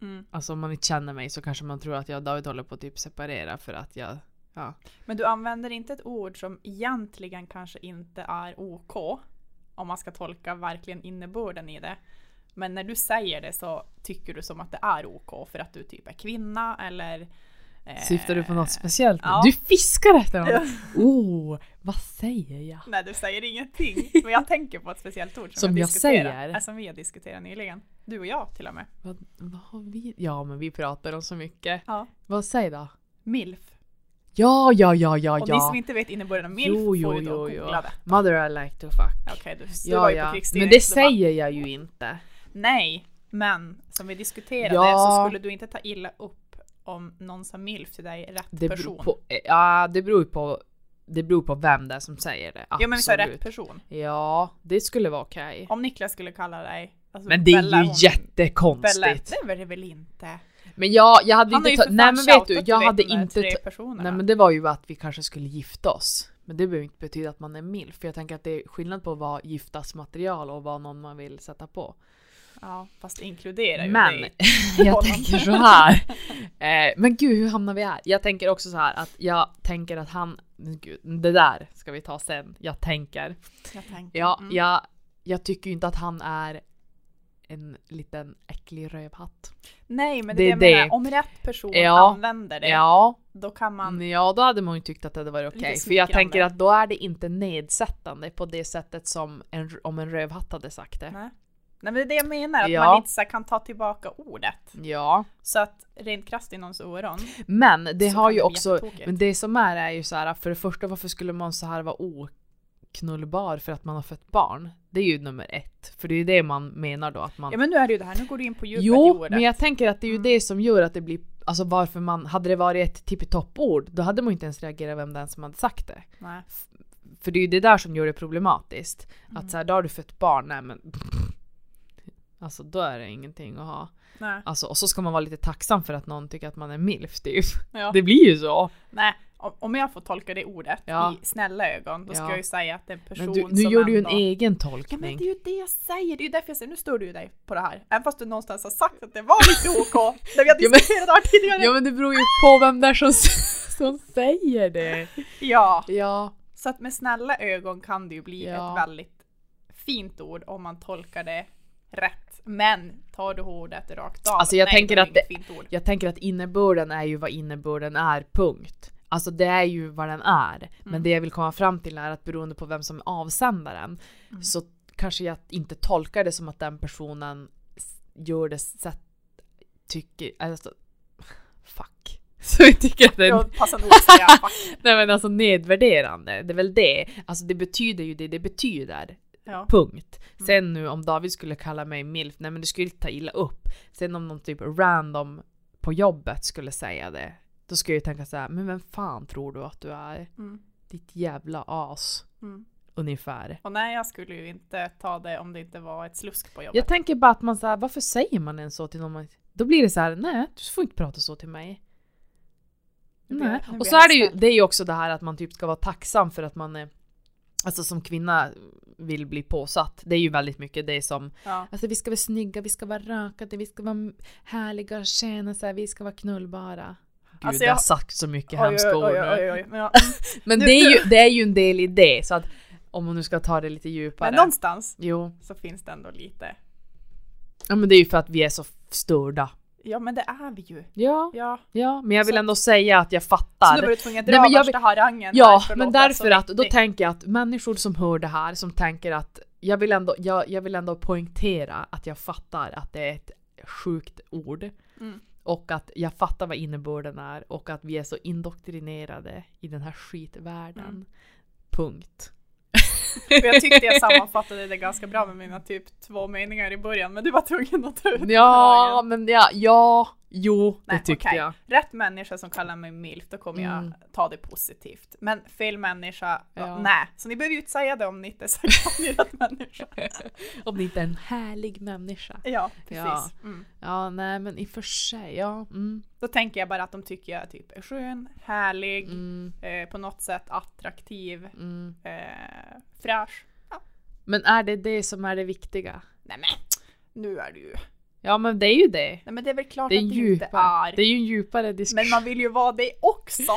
Speaker 2: Mm.
Speaker 1: Alltså om man inte känner mig så kanske man tror att jag och David håller på att typ separera för att jag... Ja.
Speaker 2: Men du använder inte ett ord som egentligen kanske inte är OK. Om man ska tolka verkligen innebörden i det. Men när du säger det så tycker du som att det är OK för att du typ är kvinna eller... eh,
Speaker 1: Syftar du på något speciellt? nu?
Speaker 2: ja.
Speaker 1: Du fiskar efter något! Åh, oh, vad säger jag?
Speaker 2: Nej, du säger ingenting. Men jag tänker på ett speciellt ord som,
Speaker 1: Som jag
Speaker 2: diskuterar.
Speaker 1: säger?
Speaker 2: Ja, som vi har diskuterat nyligen. Du och jag till och med.
Speaker 1: Vad, vad har vi? Ja, men vi pratar om så mycket.
Speaker 2: Ja.
Speaker 1: Vad säger då?
Speaker 2: Milf.
Speaker 1: Ja, ja, ja, ja,
Speaker 2: Och ni som
Speaker 1: ja.
Speaker 2: inte vet innebörden av milf
Speaker 1: Jo, jo,
Speaker 2: får ju då
Speaker 1: jo, jo.
Speaker 2: googla det.
Speaker 1: Mother I like to fuck.
Speaker 2: Okej, du, du
Speaker 1: ja,
Speaker 2: var ju på
Speaker 1: ja.
Speaker 2: krigsstigen,
Speaker 1: Men det
Speaker 2: så du bara,
Speaker 1: säger jag ju inte.
Speaker 2: Nej, men som vi diskuterade
Speaker 1: Ja.
Speaker 2: så skulle du inte ta illa upp om någon sa milf till dig, rätt
Speaker 1: Det beror
Speaker 2: person.
Speaker 1: på, eh, ja, det beror på, det beror på vem det är som säger det. Absolut.
Speaker 2: Ja men vi sa rätt person.
Speaker 1: Ja, det skulle vara okej.
Speaker 2: Om Niklas skulle kalla dig alltså,
Speaker 1: Men det
Speaker 2: Bella,
Speaker 1: är ju
Speaker 2: hon- Bella,
Speaker 1: jättekonstigt.
Speaker 2: det var det väl inte?
Speaker 1: Men jag, jag hade
Speaker 2: Han har ju
Speaker 1: inte... Ta-
Speaker 2: för fan
Speaker 1: nej men vet du,
Speaker 2: shoutat,
Speaker 1: jag hade
Speaker 2: de där
Speaker 1: inte...
Speaker 2: tre
Speaker 1: ta-
Speaker 2: personerna.
Speaker 1: Nej men det var ju att vi kanske skulle gifta oss. Men det behöver inte betyda att man är mild. För jag tänker att det är skillnad på att vara giftasmaterial och vara någon man vill sätta på.
Speaker 2: Ja, fast det inkluderar ju
Speaker 1: Men
Speaker 2: dig.
Speaker 1: jag tänker så här. Eh, men gud hur hamnar vi här? Jag tänker också så här att jag tänker att han... men Gud, det där ska vi ta sen. Jag tänker.
Speaker 2: Jag tänker.
Speaker 1: Ja,
Speaker 2: mm.
Speaker 1: jag, jag tycker ju inte att han är en liten äcklig rövhatt.
Speaker 2: Nej men
Speaker 1: Det
Speaker 2: det,
Speaker 1: är
Speaker 2: är det jag
Speaker 1: det.
Speaker 2: menar, om rätt person
Speaker 1: Ja.
Speaker 2: använder det,
Speaker 1: Ja, Mm.
Speaker 2: då kan man...
Speaker 1: Men ja, då hade man ju tyckt att det hade varit okej.
Speaker 2: Lite
Speaker 1: För jag
Speaker 2: smickrande.
Speaker 1: tänker att då är det inte nedsättande på det sättet som en, om en rövhatt hade sagt det.
Speaker 2: Nej. Nej men det är det jag menar, att
Speaker 1: Ja.
Speaker 2: man inte så här, kan ta tillbaka ordet.
Speaker 1: Ja,
Speaker 2: Så att rent krasst i någons öron.
Speaker 1: men det
Speaker 2: Så
Speaker 1: har
Speaker 2: kan
Speaker 1: ju
Speaker 2: det bli
Speaker 1: också,
Speaker 2: jättetokigt.
Speaker 1: men det som är är ju så här, för det första varför skulle man så här vara oknullbar för att man har fött barn? Det är ju nummer ett, för det är ju det man menar då att man...
Speaker 2: Ja men nu är det ju det här, nu går du in på djupet i
Speaker 1: jo,
Speaker 2: ordet.
Speaker 1: men jag tänker att det är ju
Speaker 2: Mm.
Speaker 1: det som gör att det blir, alltså varför man, hade det varit ett tippitopp-ord, då hade man ju inte ens reagerat vem den som hade sagt det.
Speaker 2: Nej.
Speaker 1: För det är ju det där som gör det problematiskt.
Speaker 2: Mm.
Speaker 1: Att så här, då har du fött barn, nej men... Alltså då är det ingenting att ha.
Speaker 2: Nej.
Speaker 1: Alltså, och så ska man vara lite tacksam för att någon tycker att man är milf typ.
Speaker 2: Ja.
Speaker 1: Det blir ju så.
Speaker 2: Nej. Om- Om jag får tolka det ordet
Speaker 1: Ja.
Speaker 2: i snälla ögon, då ska
Speaker 1: Ja.
Speaker 2: jag ju säga att det är en person
Speaker 1: Men du, nu
Speaker 2: som
Speaker 1: gör du ju en
Speaker 2: ändå...
Speaker 1: egen
Speaker 2: Ja men
Speaker 1: tolkning.
Speaker 2: det är ju det jag säger, det är ju därför jag säger nu står du ju dig på det här. Även fast du någonstans har sagt att det var lite OK. När vi har
Speaker 1: Ja, men-
Speaker 2: diskuterat det här tidigare.
Speaker 1: Ja men det beror ju på vem där som, som säger det.
Speaker 2: Ja.
Speaker 1: Ja.
Speaker 2: Så att med snälla ögon kan det ju bli
Speaker 1: Ja.
Speaker 2: ett väldigt fint ord om man tolkar det rätt. Men tar du ordet rakt av,
Speaker 1: Alltså, jag
Speaker 2: nej,
Speaker 1: tänker
Speaker 2: då är
Speaker 1: att
Speaker 2: det... inget Fint ord.
Speaker 1: Jag tänker att innebörden är ju vad innebörden är, punkt. Alltså det är ju vad den är. Men
Speaker 2: Mm.
Speaker 1: det jag vill komma fram till är att beroende på vem som är avsändaren
Speaker 2: Mm.
Speaker 1: så kanske jag inte tolkar det som att den personen s- gör det sätt tycker, alltså, fuck. Så jag tycker att det är,
Speaker 2: Då passar nog att säga fuck.
Speaker 1: nej men alltså nedvärderande, det är väl det. Alltså det betyder ju det det betyder.
Speaker 2: Ja.
Speaker 1: Punkt. Sen nu om David skulle kalla mig milf, nej men det skulle inte ta illa upp. Sen om någon typ random på jobbet skulle säga det, då skulle jag ju tänka så här, men vem fan tror du att du är?
Speaker 2: Mm.
Speaker 1: Ditt jävla as.
Speaker 2: Mm.
Speaker 1: Ungefär.
Speaker 2: Och nej, jag skulle ju inte ta det om det inte var ett slusk på jobbet.
Speaker 1: Jag tänker bara att man så här, varför säger man ens så till någon? man- Då blir det så här, nej du får inte prata så till mig.
Speaker 2: Nu blir jag-
Speaker 1: Nej.
Speaker 2: nu blir
Speaker 1: Och så
Speaker 2: jag
Speaker 1: är det ju,
Speaker 2: ställd.
Speaker 1: det är ju också det här att man typ ska vara tacksam för att man är, alltså som kvinna vill bli påsatt. Det är ju väldigt mycket det som,
Speaker 2: Ja.
Speaker 1: alltså vi ska vara snygga, vi ska vara rakade, vi ska vara härliga, tjäna så här, vi ska vara knullbara. Gud,
Speaker 2: Alltså,
Speaker 1: jag har
Speaker 2: jag-
Speaker 1: sagt så mycket
Speaker 2: Oj,
Speaker 1: hemska ord
Speaker 2: oj, oj,
Speaker 1: nu.
Speaker 2: oj, oj. Men, jag,
Speaker 1: Men
Speaker 2: Nu-
Speaker 1: det är, ju, det är ju en del i det, så att om man nu ska ta det lite djupare.
Speaker 2: men någonstans
Speaker 1: Jo,
Speaker 2: så finns det ändå lite.
Speaker 1: ja, men det är ju för att vi är så störda.
Speaker 2: Ja, men det är vi ju.
Speaker 1: Ja,
Speaker 2: Ja.
Speaker 1: ja, men jag vill
Speaker 2: Så-
Speaker 1: ändå säga att jag
Speaker 2: Så nu var
Speaker 1: fattar.
Speaker 2: du tvungen att
Speaker 1: Nej,
Speaker 2: dra
Speaker 1: men jag
Speaker 2: värsta harangen. alltså,
Speaker 1: Ja,
Speaker 2: här för att
Speaker 1: men
Speaker 2: låta
Speaker 1: därför
Speaker 2: så
Speaker 1: att då
Speaker 2: riktig.
Speaker 1: tänker jag att människor som hör det här som tänker att jag vill ändå, jag, jag vill ändå poängtera att jag fattar att det är ett sjukt ord.
Speaker 2: Mm.
Speaker 1: Och att jag fattar vad innebörden är och att vi är så indoktrinerade i den här skitvärlden.
Speaker 2: Mm.
Speaker 1: Punkt.
Speaker 2: Och jag tyckte jag sammanfattade det ganska bra med mina typ två meningar i början, men du var tvungen att ta ut
Speaker 1: Ja,
Speaker 2: harangen.
Speaker 1: men ja, ja, jo, det
Speaker 2: Nej,
Speaker 1: tyckte
Speaker 2: okej.
Speaker 1: jag.
Speaker 2: Rätt människa som kallar mig milf, då kommer
Speaker 1: Mm.
Speaker 2: jag ta det positivt. Men fel människa,
Speaker 1: Ja.
Speaker 2: nej. Så ni behöver ju inte säga det om ni inte säger att ni är rätt människa.
Speaker 1: Om det inte är en härlig människa.
Speaker 2: Ja, precis.
Speaker 1: Ja.
Speaker 2: Mm.
Speaker 1: Ja, nej men i och för sig, ja. Mm,
Speaker 2: Då tänker jag bara att de tycker jag typ är skön, härlig,
Speaker 1: mm,
Speaker 2: eh, på något sätt attraktiv,
Speaker 1: mm.
Speaker 2: eh, fräsch.
Speaker 1: Men är det det som är det viktiga?
Speaker 2: Nej men, nu är du ju...
Speaker 1: Ja men det är ju det.
Speaker 2: Nej men det är väl klart
Speaker 1: Det är,
Speaker 2: att det inte
Speaker 1: djupare.
Speaker 2: är.
Speaker 1: det är ju en djupare
Speaker 2: Men
Speaker 1: diskussion.
Speaker 2: man vill ju vara det också.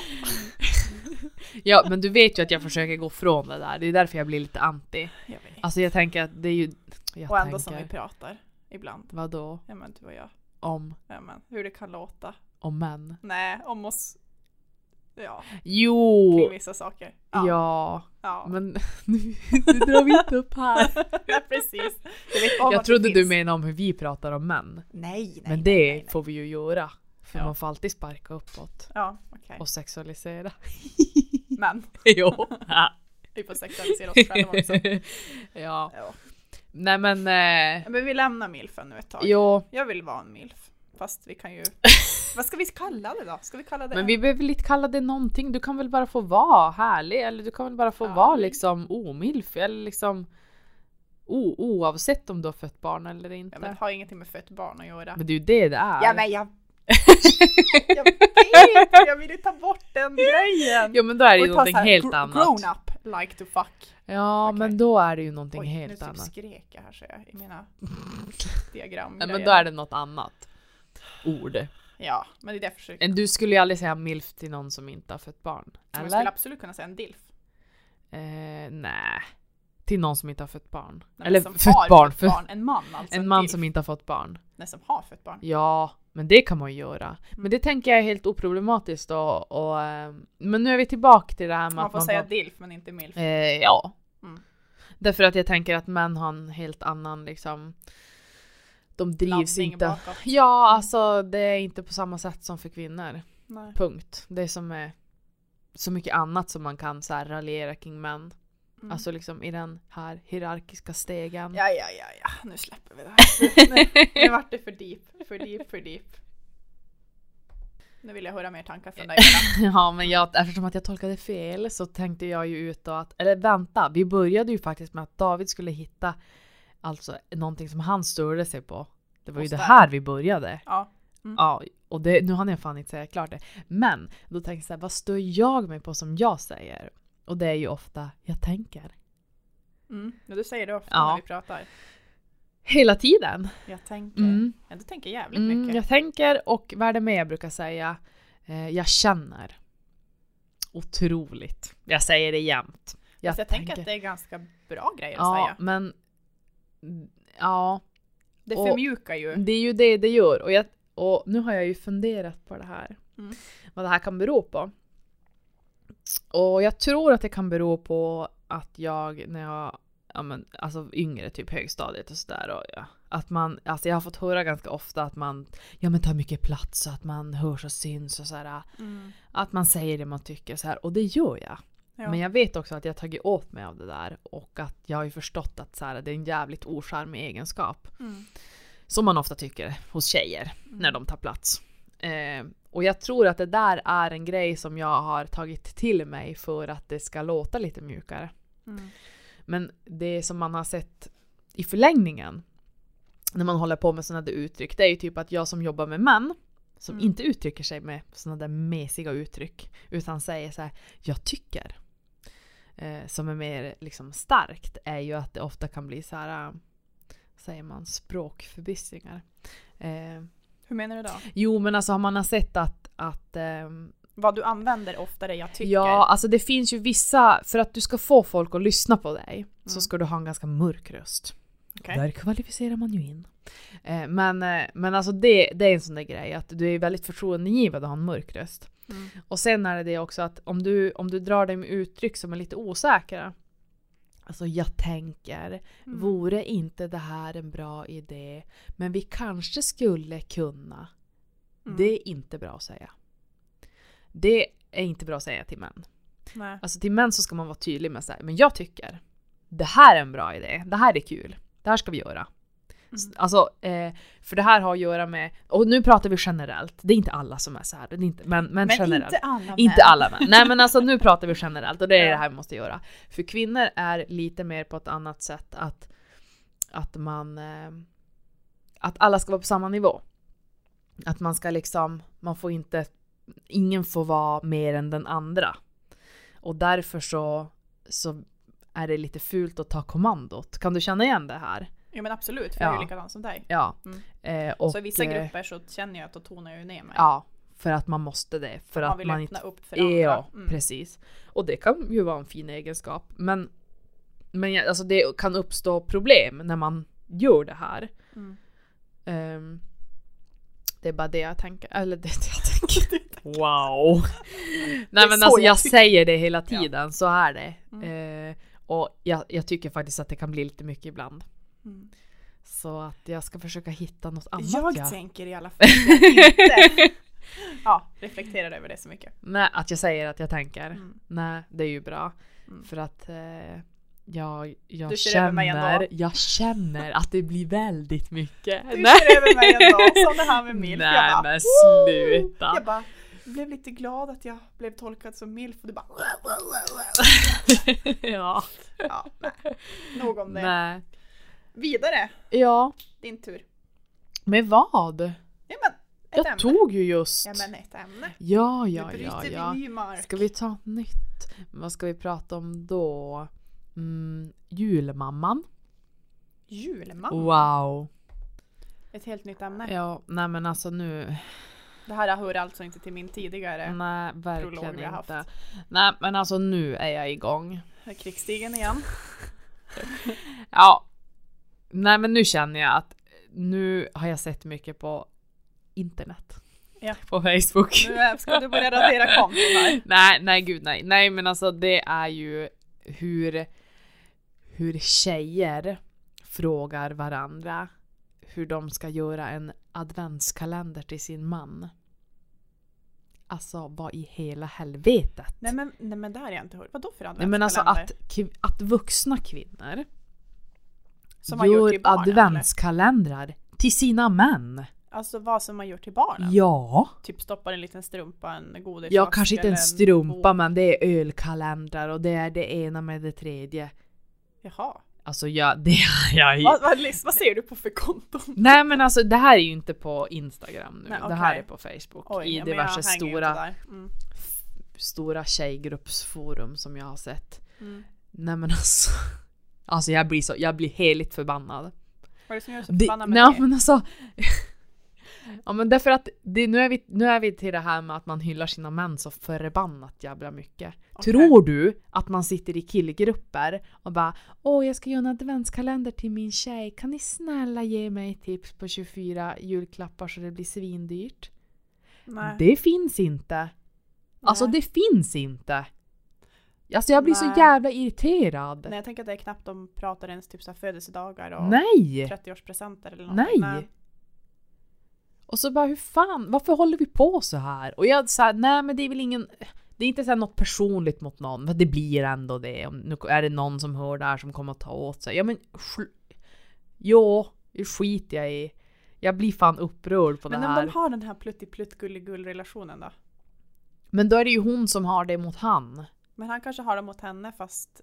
Speaker 1: Ja men du vet ju att jag försöker gå från det där, det är därför jag blir lite anti.
Speaker 2: Jag vet.
Speaker 1: Alltså jag tänker att det är ju... Jag
Speaker 2: Och
Speaker 1: tänker,
Speaker 2: ändå som vi pratar ibland.
Speaker 1: Vadå?
Speaker 2: Ja men du och jag.
Speaker 1: Om?
Speaker 2: Ja, men, hur det kan låta.
Speaker 1: Om män?
Speaker 2: Nej, om oss. Ja, kring
Speaker 1: Jo!
Speaker 2: vissa saker.
Speaker 1: Ja,
Speaker 2: ja.
Speaker 1: men nu, nu drar vi inte upp här.
Speaker 2: Ja, precis. Jag, vet om
Speaker 1: Jag
Speaker 2: att
Speaker 1: trodde
Speaker 2: det
Speaker 1: du
Speaker 2: finns.
Speaker 1: menade om hur vi pratar om män.
Speaker 2: Nej, nej.
Speaker 1: Men
Speaker 2: nej,
Speaker 1: det
Speaker 2: nej, nej.
Speaker 1: får vi ju göra. För
Speaker 2: Ja.
Speaker 1: man får alltid sparka uppåt.
Speaker 2: Ja, okej.
Speaker 1: Och sexualisera.
Speaker 2: Men
Speaker 1: jo.
Speaker 2: vi får sexualisera oss själva också.
Speaker 1: ja.
Speaker 2: Ja.
Speaker 1: Nej men... Eh,
Speaker 2: Men vi lämnar milfen nu ett tag.
Speaker 1: jo.
Speaker 2: Jag vill vara en milf. Fast vi kan ju... Vad ska vi kalla det då? Ska vi kalla det
Speaker 1: Men
Speaker 2: en-
Speaker 1: vi behöver inte kalla det någonting. Du kan väl bara få vara härlig eller du kan väl bara få
Speaker 2: Ja.
Speaker 1: vara liksom omilf eller liksom o, oavsett om du har fött barn eller inte.
Speaker 2: Ja, men det
Speaker 1: men,
Speaker 2: har ingenting med fött barn att göra.
Speaker 1: det är ju det det är.
Speaker 2: Ja men jag... jag vet! Jag vill ju ta bort den grejen!
Speaker 1: Jo men då är det ju
Speaker 2: Och ta så
Speaker 1: någonting
Speaker 2: här,
Speaker 1: helt
Speaker 2: gr-
Speaker 1: annat.
Speaker 2: Grown up like to fuck.
Speaker 1: Ja
Speaker 2: Okej.
Speaker 1: men då är det ju någonting
Speaker 2: Oj, nu
Speaker 1: helt
Speaker 2: typ
Speaker 1: annat.
Speaker 2: skrek jag här ser jag i mina diagram.
Speaker 1: Nej, men då är det något annat ord.
Speaker 2: Ja, men det är det jag försöker.
Speaker 1: Men Du skulle ju aldrig säga milf till någon som inte har fött barn.
Speaker 2: Man
Speaker 1: Eller?
Speaker 2: skulle absolut kunna säga en dilf.
Speaker 1: Eh, nej. Till någon som inte har fött barn.
Speaker 2: Nej, men
Speaker 1: Eller
Speaker 2: som
Speaker 1: fött
Speaker 2: har
Speaker 1: barn.
Speaker 2: fött
Speaker 1: För
Speaker 2: barn. En man alltså.
Speaker 1: en man
Speaker 2: dilf.
Speaker 1: som inte har fått barn.
Speaker 2: Nej, som har fött barn.
Speaker 1: Ja, men det kan man ju göra. Men det tänker jag är helt oproblematiskt och, och eh, Men nu är vi tillbaka till det här med
Speaker 2: Man
Speaker 1: att
Speaker 2: får
Speaker 1: man
Speaker 2: säga
Speaker 1: får-
Speaker 2: dilf men inte milf.
Speaker 1: eh, Ja.
Speaker 2: Mm.
Speaker 1: Därför att jag tänker att män har en helt annan liksom... De drivs
Speaker 2: Laddning
Speaker 1: inte...
Speaker 2: bakåt.
Speaker 1: Ja, alltså det är inte på samma sätt som för kvinnor.
Speaker 2: Nej.
Speaker 1: Punkt. Det är som är så mycket annat som man kan så här raljera kring män.
Speaker 2: Mm.
Speaker 1: Alltså liksom i den här hierarkiska stegen.
Speaker 2: Ja, ja, ja, ja, nu släpper vi det här. Nu, nu vart det för deep, för deep, för deep. Nu vill jag höra mer tankar från dig. Ella.
Speaker 1: Ja, men jag, eftersom att jag tolkade fel så tänkte jag ju ut då att, eller vänta, vi började ju faktiskt med att David skulle hitta alltså någonting som han störde sig på. Det var ju
Speaker 2: Hos
Speaker 1: det
Speaker 2: dig.
Speaker 1: här vi började.
Speaker 2: Ja. mm.
Speaker 1: Ja, och det, nu hann jag fan inte säga klart det. Men då tänkte jag så här, vad stör jag mig på som jag säger? Och det är ju ofta jag tänker.
Speaker 2: Mm. Men du säger det ofta
Speaker 1: Ja.
Speaker 2: när vi pratar.
Speaker 1: Hela tiden.
Speaker 2: Jag tänker.
Speaker 1: Mm.
Speaker 2: Ja, du tänker jävligt
Speaker 1: Mm,
Speaker 2: mycket.
Speaker 1: jag tänker och vad är det mer jag brukar säga? Eh, jag känner. Otroligt. Jag säger det jämt.
Speaker 2: Jag, jag tänker, att det är ganska bra grejer att
Speaker 1: ja,
Speaker 2: säga.
Speaker 1: men ja,
Speaker 2: Det
Speaker 1: och-
Speaker 2: förmjukar ju.
Speaker 1: det är ju det det gör. Och, jag, och nu har jag ju funderat på det här.
Speaker 2: Mm.
Speaker 1: Vad det här kan bero på. Och jag tror att det kan bero på att jag när jag ja, men, alltså yngre, typ högstadiet och sådär. och Ja, att man, alltså jag har fått höra ganska ofta att man ja, men tar mycket plats och att man hörs och syns och sådär.
Speaker 2: Mm.
Speaker 1: Att man säger det man tycker så här och det gör jag.
Speaker 2: Ja.
Speaker 1: Men jag vet också att jag har tagit åt mig av det där och att jag har ju förstått att så här, det är en jävligt ocharmig egenskap.
Speaker 2: Mm.
Speaker 1: Som man ofta tycker hos tjejer
Speaker 2: Mm.
Speaker 1: när de tar plats. Eh, och jag tror att det där är en grej som jag har tagit till mig för att det ska låta lite mjukare.
Speaker 2: Mm.
Speaker 1: Men det som man har sett i förlängningen när man håller på med sådana där uttryck, det är ju typ att jag som jobbar med män som
Speaker 2: Mm.
Speaker 1: inte uttrycker sig med sådana där mesiga uttryck utan säger så här “jag tycker” eh, som är mer liksom starkt är ju att det ofta kan bli så här eh, säger man språkförbistringar. Eh,
Speaker 2: Hur menar du då?
Speaker 1: jo men alltså har man har sett att, att ehm,
Speaker 2: Vad du använder oftare, jag tycker.
Speaker 1: Ja, alltså det finns ju vissa, för att du ska få folk att lyssna på dig så
Speaker 2: Mm.
Speaker 1: ska du ha en ganska mörk röst.
Speaker 2: Okej.
Speaker 1: Där kvalificerar man ju in. Eh, men, eh, men alltså det, det är en sån där grej att du är väldigt förtroendeingivande att ha en mörk röst.
Speaker 2: Mm.
Speaker 1: Och sen är det det också att om du, om du drar dig med uttryck som är lite osäkra. Alltså jag tänker,
Speaker 2: Mm.
Speaker 1: vore inte det här en bra idé? Men vi kanske skulle kunna.
Speaker 2: Mm.
Speaker 1: Det är inte bra att säga. Det är inte bra att säga till män.
Speaker 2: Nej.
Speaker 1: Alltså till män så ska man vara tydlig med så här, men jag tycker det här är en bra idé, det här är kul, det här ska vi göra. S-
Speaker 2: Mm.
Speaker 1: Alltså, eh, för det här har att göra med, och nu pratar vi generellt, det är inte alla som är så här, det är inte, men, men,
Speaker 2: Men
Speaker 1: generellt.
Speaker 2: inte alla män.
Speaker 1: Inte alla män. Nej men alltså nu pratar vi generellt och det är
Speaker 2: Ja.
Speaker 1: det här vi måste göra. För kvinnor är lite mer på ett annat sätt att, att man... eh, Att alla ska vara på samma nivå. Att man ska liksom, man får inte... Ingen får vara mer än den andra. Och därför så, så är det lite fult att ta kommandot. Kan du känna igen det här?
Speaker 2: Jo men absolut, för jag är
Speaker 1: Ja.
Speaker 2: ju likadan som dig.
Speaker 1: Ja.
Speaker 2: Mm.
Speaker 1: Eh, och,
Speaker 2: så i vissa
Speaker 1: eh,
Speaker 2: grupper så känner jag att då tonar jag ju ner mig.
Speaker 1: Ja, för att man måste det. För
Speaker 2: man
Speaker 1: att
Speaker 2: vill
Speaker 1: man inte
Speaker 2: öppna upp för
Speaker 1: Ja,
Speaker 2: andra. Mm.
Speaker 1: precis. Och det kan ju vara en fin egenskap. Men, men jag- alltså det kan uppstå problem när man gör det här.
Speaker 2: Mm.
Speaker 1: Ehm, det är bara det jag tänker. Eller det, jag tänker. wow! Nej
Speaker 2: är
Speaker 1: men
Speaker 2: så
Speaker 1: alltså
Speaker 2: jag
Speaker 1: jag
Speaker 2: tycker.
Speaker 1: säger det hela tiden, så är det.
Speaker 2: Mm.
Speaker 1: Ehm, och jag, jag tycker faktiskt att det kan bli lite mycket ibland.
Speaker 2: Mm.
Speaker 1: Så att jag ska försöka hitta något annat.
Speaker 2: Jag
Speaker 1: jag-
Speaker 2: tänker i alla fall att jag inte ja, reflekterar över det så mycket.
Speaker 1: Nej, att jag säger att jag tänker.
Speaker 2: Mm.
Speaker 1: Nej, det är ju bra.
Speaker 2: Mm.
Speaker 1: För att eh, jag,
Speaker 2: Du
Speaker 1: jag,
Speaker 2: kör över mig ändå.
Speaker 1: känner, jag känner att det blir väldigt mycket.
Speaker 2: Du
Speaker 1: Nej.
Speaker 2: kör över mig ändå, som det här med milf.
Speaker 1: Nej,
Speaker 2: jag bara,
Speaker 1: men
Speaker 2: "Woo!"
Speaker 1: sluta.
Speaker 2: Jag bara blev lite glad att jag blev tolkad som milf och du bara
Speaker 1: ja.
Speaker 2: ja, nej. Nog om det.
Speaker 1: Nej.
Speaker 2: Vidare,
Speaker 1: Ja,
Speaker 2: din tur.
Speaker 1: med vad?
Speaker 2: Ja men, ett ämne.
Speaker 1: Jag tog ju just.
Speaker 2: Ja men ett ämne.
Speaker 1: Ja, ja,
Speaker 2: nu
Speaker 1: ja,
Speaker 2: bryter
Speaker 1: ja.
Speaker 2: vi ny mark.
Speaker 1: Ska vi ta ett nytt? Vad ska vi prata om då? Mm, julmamman.
Speaker 2: Julmamma.
Speaker 1: Wow.
Speaker 2: Ett helt nytt ämne.
Speaker 1: Ja, nej men alltså nu.
Speaker 2: Det här hör alltså inte till min tidigare
Speaker 1: Nej,
Speaker 2: prolog
Speaker 1: verkligen
Speaker 2: vi har haft.
Speaker 1: inte. Nej, men alltså nu är jag igång.
Speaker 2: krigsstigen igen.
Speaker 1: Ja. Nej men nu känner jag att nu har jag sett mycket på internet.
Speaker 2: Ja.
Speaker 1: På Facebook.
Speaker 2: Nu är- ska du börja radera konton här.
Speaker 1: nej, nej gud nej. Nej men alltså det är ju hur, hur tjejer frågar varandra hur de ska göra en adventskalender till sin man. Alltså vad i hela helvetet?
Speaker 2: Nej men, nej men det har jag inte hört. Vadå för
Speaker 1: Nej men alltså
Speaker 2: adventskalender?
Speaker 1: att, kv- att vuxna kvinnor
Speaker 2: Som man gör
Speaker 1: gör
Speaker 2: till barnen,
Speaker 1: adventskalendrar till sina män.
Speaker 2: Alltså vad som man gör till barnen?
Speaker 1: Ja,
Speaker 2: Typ stoppar en liten strumpa, en godis.
Speaker 1: ja kanske inte en strumpa men det är ölkalendrar och det är det ena med det tredje.
Speaker 2: Jaha.
Speaker 1: Alltså jag, det jag
Speaker 2: Vad, vad, lys- vad ser du på för konton?
Speaker 1: Nej men alltså det här är ju inte på Instagram nu,
Speaker 2: Nej,
Speaker 1: det
Speaker 2: okej.
Speaker 1: här är på Facebook i
Speaker 2: ja,
Speaker 1: diverse
Speaker 2: men jag hänger ju inte
Speaker 1: stora,
Speaker 2: där. Mm.
Speaker 1: stora tjejgruppsforum som jag har sett.
Speaker 2: Mm.
Speaker 1: Nej men alltså, alltså jag blir så, jag blir heligt förbannad.
Speaker 2: Vad är det som gör dig så
Speaker 1: Det,
Speaker 2: förbannad med
Speaker 1: nej
Speaker 2: det?
Speaker 1: men alltså. ja men därför att det, nu, är vi, nu är vi till det här med att man hyllar sina män så förbannat jävla mycket.
Speaker 2: Okej.
Speaker 1: Tror du att man sitter i killgrupper och bara Åh jag ska göra en adventskalender till min tjej, kan ni snälla ge mig tips på 24 julklappar så det blir svindyrt?
Speaker 2: Nej.
Speaker 1: Det finns inte. Alltså det
Speaker 2: Nej.
Speaker 1: finns inte. Alltså jag blir
Speaker 2: Nej.
Speaker 1: så jävla irriterad.
Speaker 2: Nej jag tänker att det är knappt de pratar ens typ så här födelsedagar och
Speaker 1: Nej.
Speaker 2: 30-årspresenter eller någonting.
Speaker 1: Nej. Och så bara hur fan, varför håller vi på så här? Och jag sa nej men det är väl ingen, det Det är inte så här något personligt mot någon, för det blir ändå det. Om, nu är det någon som hör det här som kommer att ta åt sig. Ja men sk- Jo, det skiter jag i. Jag blir fan upprörd på
Speaker 2: Men
Speaker 1: det
Speaker 2: om
Speaker 1: här.
Speaker 2: de har den här pluttiplutt gulligull relationen då?
Speaker 1: Men då är det ju hon som har det mot han.
Speaker 2: Men han kanske har det mot henne fast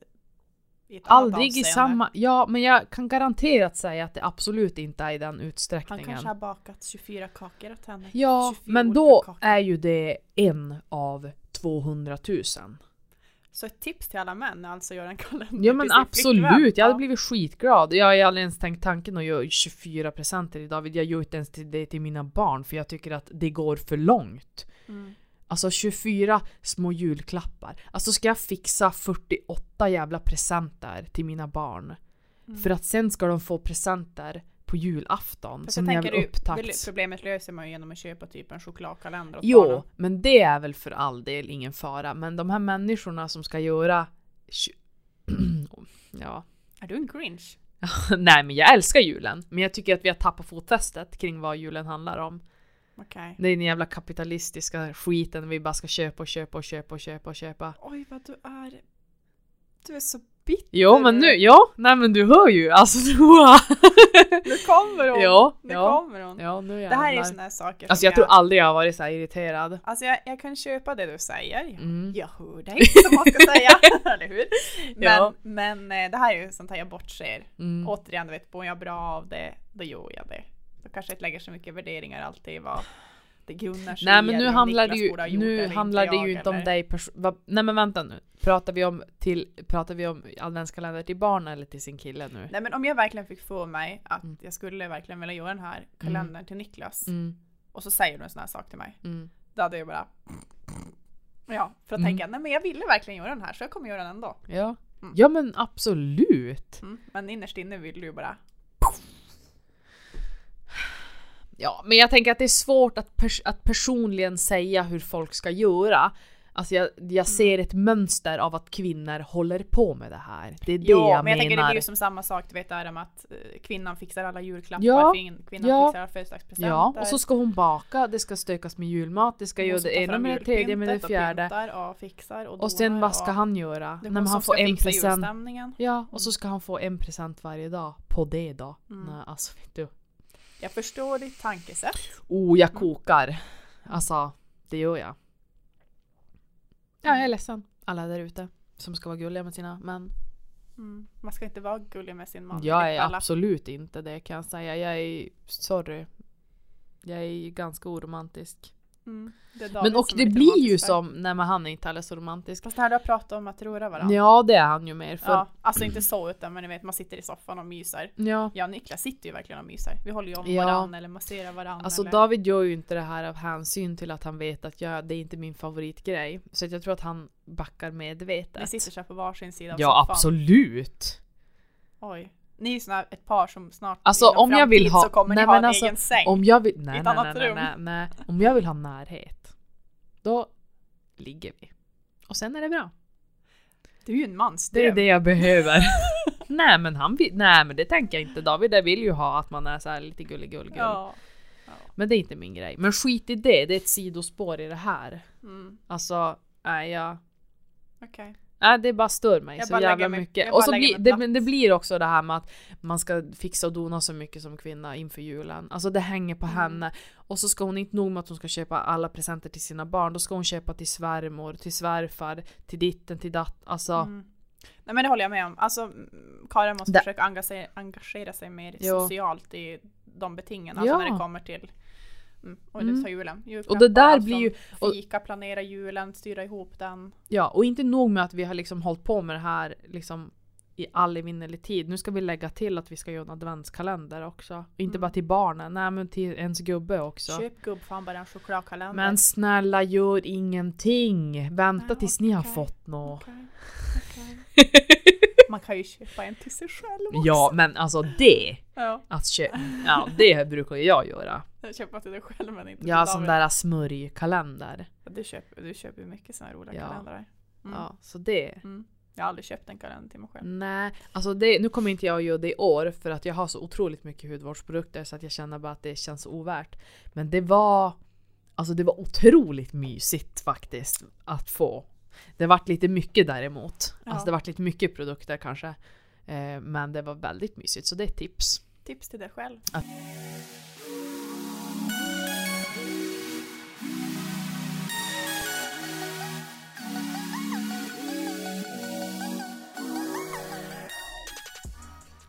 Speaker 2: i ett annat
Speaker 1: Aldrig i
Speaker 2: avseende.
Speaker 1: samma... Ja, men jag kan garanterat säga att det absolut inte är i den
Speaker 2: Han
Speaker 1: utsträckningen.
Speaker 2: kanske har bakat 24 kakor åt henne.
Speaker 1: Ja,
Speaker 2: 24
Speaker 1: men
Speaker 2: olika
Speaker 1: då
Speaker 2: kakor.
Speaker 1: är ju det en av 200 000.
Speaker 2: Så ett tips till alla män är alltså att göra en kalender
Speaker 1: Ja men
Speaker 2: till sin flickvän.
Speaker 1: absolut, jag hade
Speaker 2: Ja.
Speaker 1: blivit skitglad. Jag har ju aldrig ens tänkt tanken att göra 24 presenter till David. Jag gör inte ens till det till mina barn för jag tycker att det går för långt.
Speaker 2: Mm.
Speaker 1: Alltså 24 små julklappar. Alltså ska jag fixa 48 jävla presenter till mina barn?
Speaker 2: Mm.
Speaker 1: För att sen ska de få presenter på julafton
Speaker 2: Fast
Speaker 1: som
Speaker 2: jag
Speaker 1: jag
Speaker 2: tänker
Speaker 1: vill
Speaker 2: du- väl-
Speaker 1: upptakts.
Speaker 2: Problemet löser man ju genom att köpa typ en chokladkalender åt barnen.
Speaker 1: Jo, men det är väl för all del ingen fara. Men de här människorna som ska göra... tju- ja.
Speaker 2: Är du en grinch?
Speaker 1: Nej, men jag älskar julen. Men jag tycker att vi har tappat fotfästet kring vad julen handlar om.
Speaker 2: Okej.
Speaker 1: Det är den jävla kapitalistiska skiten vi bara ska köpa och köpa och köpa och köpa och köpa.
Speaker 2: Oj vad du är... Du är så bitter.
Speaker 1: Jo, men nu, ja, nej men du hör ju. Alltså, Moa.
Speaker 2: Nu kommer hon!
Speaker 1: Ja,
Speaker 2: nu
Speaker 1: ja.
Speaker 2: kommer hon.
Speaker 1: ja, nu
Speaker 2: Det här är ju
Speaker 1: jävlar.
Speaker 2: såna här saker
Speaker 1: Alltså
Speaker 2: som
Speaker 1: jag tror aldrig jag har varit så här irriterad.
Speaker 2: Alltså jag, jag kan köpa det du säger. Jag,
Speaker 1: Mm.
Speaker 2: jag hör dig som man ska säga, eller hur? Men,
Speaker 1: Ja.
Speaker 2: men eh, det här är ju sånt här jag bortser.
Speaker 1: Mm.
Speaker 2: Återigen, du vet, mår jag bra av det, då gör jag det. Då kanske jag inte lägger så mycket värderingar alltid i vad det grundar sig
Speaker 1: Nej
Speaker 2: i,
Speaker 1: men nu
Speaker 2: eller om
Speaker 1: handlar det
Speaker 2: Niklas borde ha
Speaker 1: ju,
Speaker 2: gjort
Speaker 1: nu
Speaker 2: eller inte
Speaker 1: handlar det
Speaker 2: jag,
Speaker 1: ju inte om
Speaker 2: eller-
Speaker 1: dig pers- va, Nej men vänta nu. Pratar vi om, till, pratar vi om adventskalender till barn eller till sin kille nu?
Speaker 2: Nej men om jag verkligen fick för mig att
Speaker 1: Mm.
Speaker 2: jag skulle verkligen vilja göra den här kalendern till Niklas
Speaker 1: Mm,
Speaker 2: och så säger du en sån här sak till mig.
Speaker 1: mm.
Speaker 2: Då hade jag bara... Ja, för att
Speaker 1: Mm.
Speaker 2: tänka nej men jag ville verkligen göra den här så jag kommer göra den ändå.
Speaker 1: Ja.
Speaker 2: Mm.
Speaker 1: ja men absolut.
Speaker 2: Mm. Men innerst inne vill du ju bara
Speaker 1: Ja men jag tänker att det är svårt att, pers- att personligen säga hur folk ska göra. Alltså jag,
Speaker 2: Mm.
Speaker 1: jag ser ett mönster av att kvinnor håller på med det här. Det är det
Speaker 2: Jo,
Speaker 1: jag
Speaker 2: men jag tänker det
Speaker 1: menar.
Speaker 2: blir ju som samma sak, du vet det här med att eh, kvinnan fixar alla julklappar,
Speaker 1: Ja,
Speaker 2: kvin- kvinnan
Speaker 1: ja.
Speaker 2: fixar alla födelsedagspresenter.
Speaker 1: ja, och så ska hon baka, det ska stökas med julmat, det ska
Speaker 2: Hon
Speaker 1: göra
Speaker 2: som
Speaker 1: det
Speaker 2: tar
Speaker 1: ena
Speaker 2: fram
Speaker 1: med det tredje med det
Speaker 2: julpyntet
Speaker 1: fjärde.
Speaker 2: Och pyntar och fixar och,
Speaker 1: Och sen
Speaker 2: donar
Speaker 1: vad ska
Speaker 2: och-
Speaker 1: han göra?
Speaker 2: Det
Speaker 1: Nej,
Speaker 2: är
Speaker 1: men
Speaker 2: hon som
Speaker 1: han får
Speaker 2: ska
Speaker 1: en
Speaker 2: fixa
Speaker 1: present.
Speaker 2: julstämningen.
Speaker 1: Ja, och så ska han få en present varje dag. På det då.
Speaker 2: Mm.
Speaker 1: Nej, alltså vet du.
Speaker 2: Jag förstår ditt tankesätt.
Speaker 1: Oh, jag kokar. Alltså, det gör jag. Ja, jag är ledsen. Alla där ute som ska vara gulliga med sina män.
Speaker 2: Mm. Man ska inte vara gullig med sin man.
Speaker 1: Jag
Speaker 2: enligt
Speaker 1: är
Speaker 2: alla.
Speaker 1: absolut inte det kan jag säga. Jag är, sorry. Jag är ganska oromantisk.
Speaker 2: Mm. Det är David
Speaker 1: Men och
Speaker 2: som är
Speaker 1: det
Speaker 2: lite
Speaker 1: blir ju
Speaker 2: romantisk där.
Speaker 1: som, nej men han är inte alls så romantisk.
Speaker 2: Fast det här du har pratat om att röra varandra.
Speaker 1: Ja det är han ju mer för.
Speaker 2: Ja, alltså inte så utan men ni vet man sitter i soffan och myser.
Speaker 1: ja.
Speaker 2: Jag och Niklas sitter ju verkligen och myser. Vi håller ju om
Speaker 1: Ja.
Speaker 2: varandra eller masserar varandra.
Speaker 1: Alltså
Speaker 2: eller...
Speaker 1: David gör ju inte det här av hänsyn till att han vet att jag, det är inte min favoritgrej. Så att jag tror att han backar medvetet.
Speaker 2: Ni sitter så här på varsin sida av
Speaker 1: ja
Speaker 2: soffan.
Speaker 1: absolut!
Speaker 2: Oj. Ni är ju såna här ett par som snart
Speaker 1: Alltså,
Speaker 2: inom
Speaker 1: om jag
Speaker 2: framtid
Speaker 1: vill ha-
Speaker 2: så kommer
Speaker 1: Nej,
Speaker 2: ni ha
Speaker 1: men
Speaker 2: en
Speaker 1: alltså,
Speaker 2: egen säng.
Speaker 1: Om jag vill, nej,
Speaker 2: ett
Speaker 1: nej, nej,
Speaker 2: annat
Speaker 1: nej,
Speaker 2: rum.
Speaker 1: nej, nej. Om jag vill ha närhet, då ligger vi. Och sen är det bra.
Speaker 2: Du är ju en
Speaker 1: Det är
Speaker 2: mansdröm.
Speaker 1: det jag behöver. nej men han vill, nej men det tänker jag inte. David jag vill ju ha att man är så här lite gullig, gullig,
Speaker 2: Ja.
Speaker 1: Men det är inte min grej. Men skit i det, det är ett sidospår i det här.
Speaker 2: Mm.
Speaker 1: Alltså, nej jag
Speaker 2: Okej.
Speaker 1: Nej det bara stör mig
Speaker 2: Jag
Speaker 1: så
Speaker 2: bara lägger
Speaker 1: jävla
Speaker 2: mig-
Speaker 1: mycket.
Speaker 2: jag
Speaker 1: Och
Speaker 2: bara
Speaker 1: så
Speaker 2: lägger
Speaker 1: blir,
Speaker 2: mig
Speaker 1: det,
Speaker 2: platt.
Speaker 1: men det blir också det här med att man ska fixa och dona så mycket som kvinna inför julen. Alltså det hänger på
Speaker 2: Mm.
Speaker 1: henne. Och så ska hon inte nog med att hon ska köpa alla presenter till sina barn. Då ska hon köpa till svärmor, till svärfar, till ditten, till datt. Alltså
Speaker 2: Mm. Nej men det håller jag med om. Alltså mm, Karin måste
Speaker 1: Det-
Speaker 2: försöka engagera, engagera sig mer
Speaker 1: Jo.
Speaker 2: socialt i de betingen. Alltså
Speaker 1: Ja.
Speaker 2: när det kommer till mm. Och
Speaker 1: Mm.
Speaker 2: nu tar julen.
Speaker 1: Och det där
Speaker 2: Julklappar,
Speaker 1: blir ju-
Speaker 2: alltså,
Speaker 1: och-
Speaker 2: Fika, planera julen, styra ihop den.
Speaker 1: ja, och inte nog med att vi har liksom hållit på med det här liksom i all evinnerlig tid. Nu ska vi lägga till att vi ska göra en adventskalender också. Inte
Speaker 2: Mm.
Speaker 1: bara till barnen, nej men till ens gubbe också.
Speaker 2: Köp gubbfan bara en chokladkalender.
Speaker 1: Men snälla gör ingenting. Vänta
Speaker 2: Nej,
Speaker 1: tills ni har
Speaker 2: okej.
Speaker 1: fått något.
Speaker 2: Okej, okej. Man kan ju köpa en till sig själv också. Mm.
Speaker 1: Ja men alltså det,
Speaker 2: ja.
Speaker 1: att kö- ja, det brukar ju jag göra.
Speaker 2: Jag köper till dig själv men inte till
Speaker 1: Ja sån
Speaker 2: David.
Speaker 1: där smörjkalender.
Speaker 2: Ja, Du köper, du köper ju mycket såna här roliga
Speaker 1: Ja.
Speaker 2: kalendrar. Mm.
Speaker 1: Ja, så det.
Speaker 2: Mm. Jag har aldrig köpt en kalender till mig själv.
Speaker 1: Nej, alltså det, nu kommer inte jag att göra det i år för att jag har så otroligt mycket hudvårdsprodukter så att jag känner bara att det känns ovärt. Men det var Alltså det var otroligt mysigt faktiskt att få. Det vart lite mycket däremot.
Speaker 2: Ja.
Speaker 1: Alltså det vart lite mycket produkter kanske. Eh, men det var väldigt mysigt så det är ett tips.
Speaker 2: Tips till dig själv.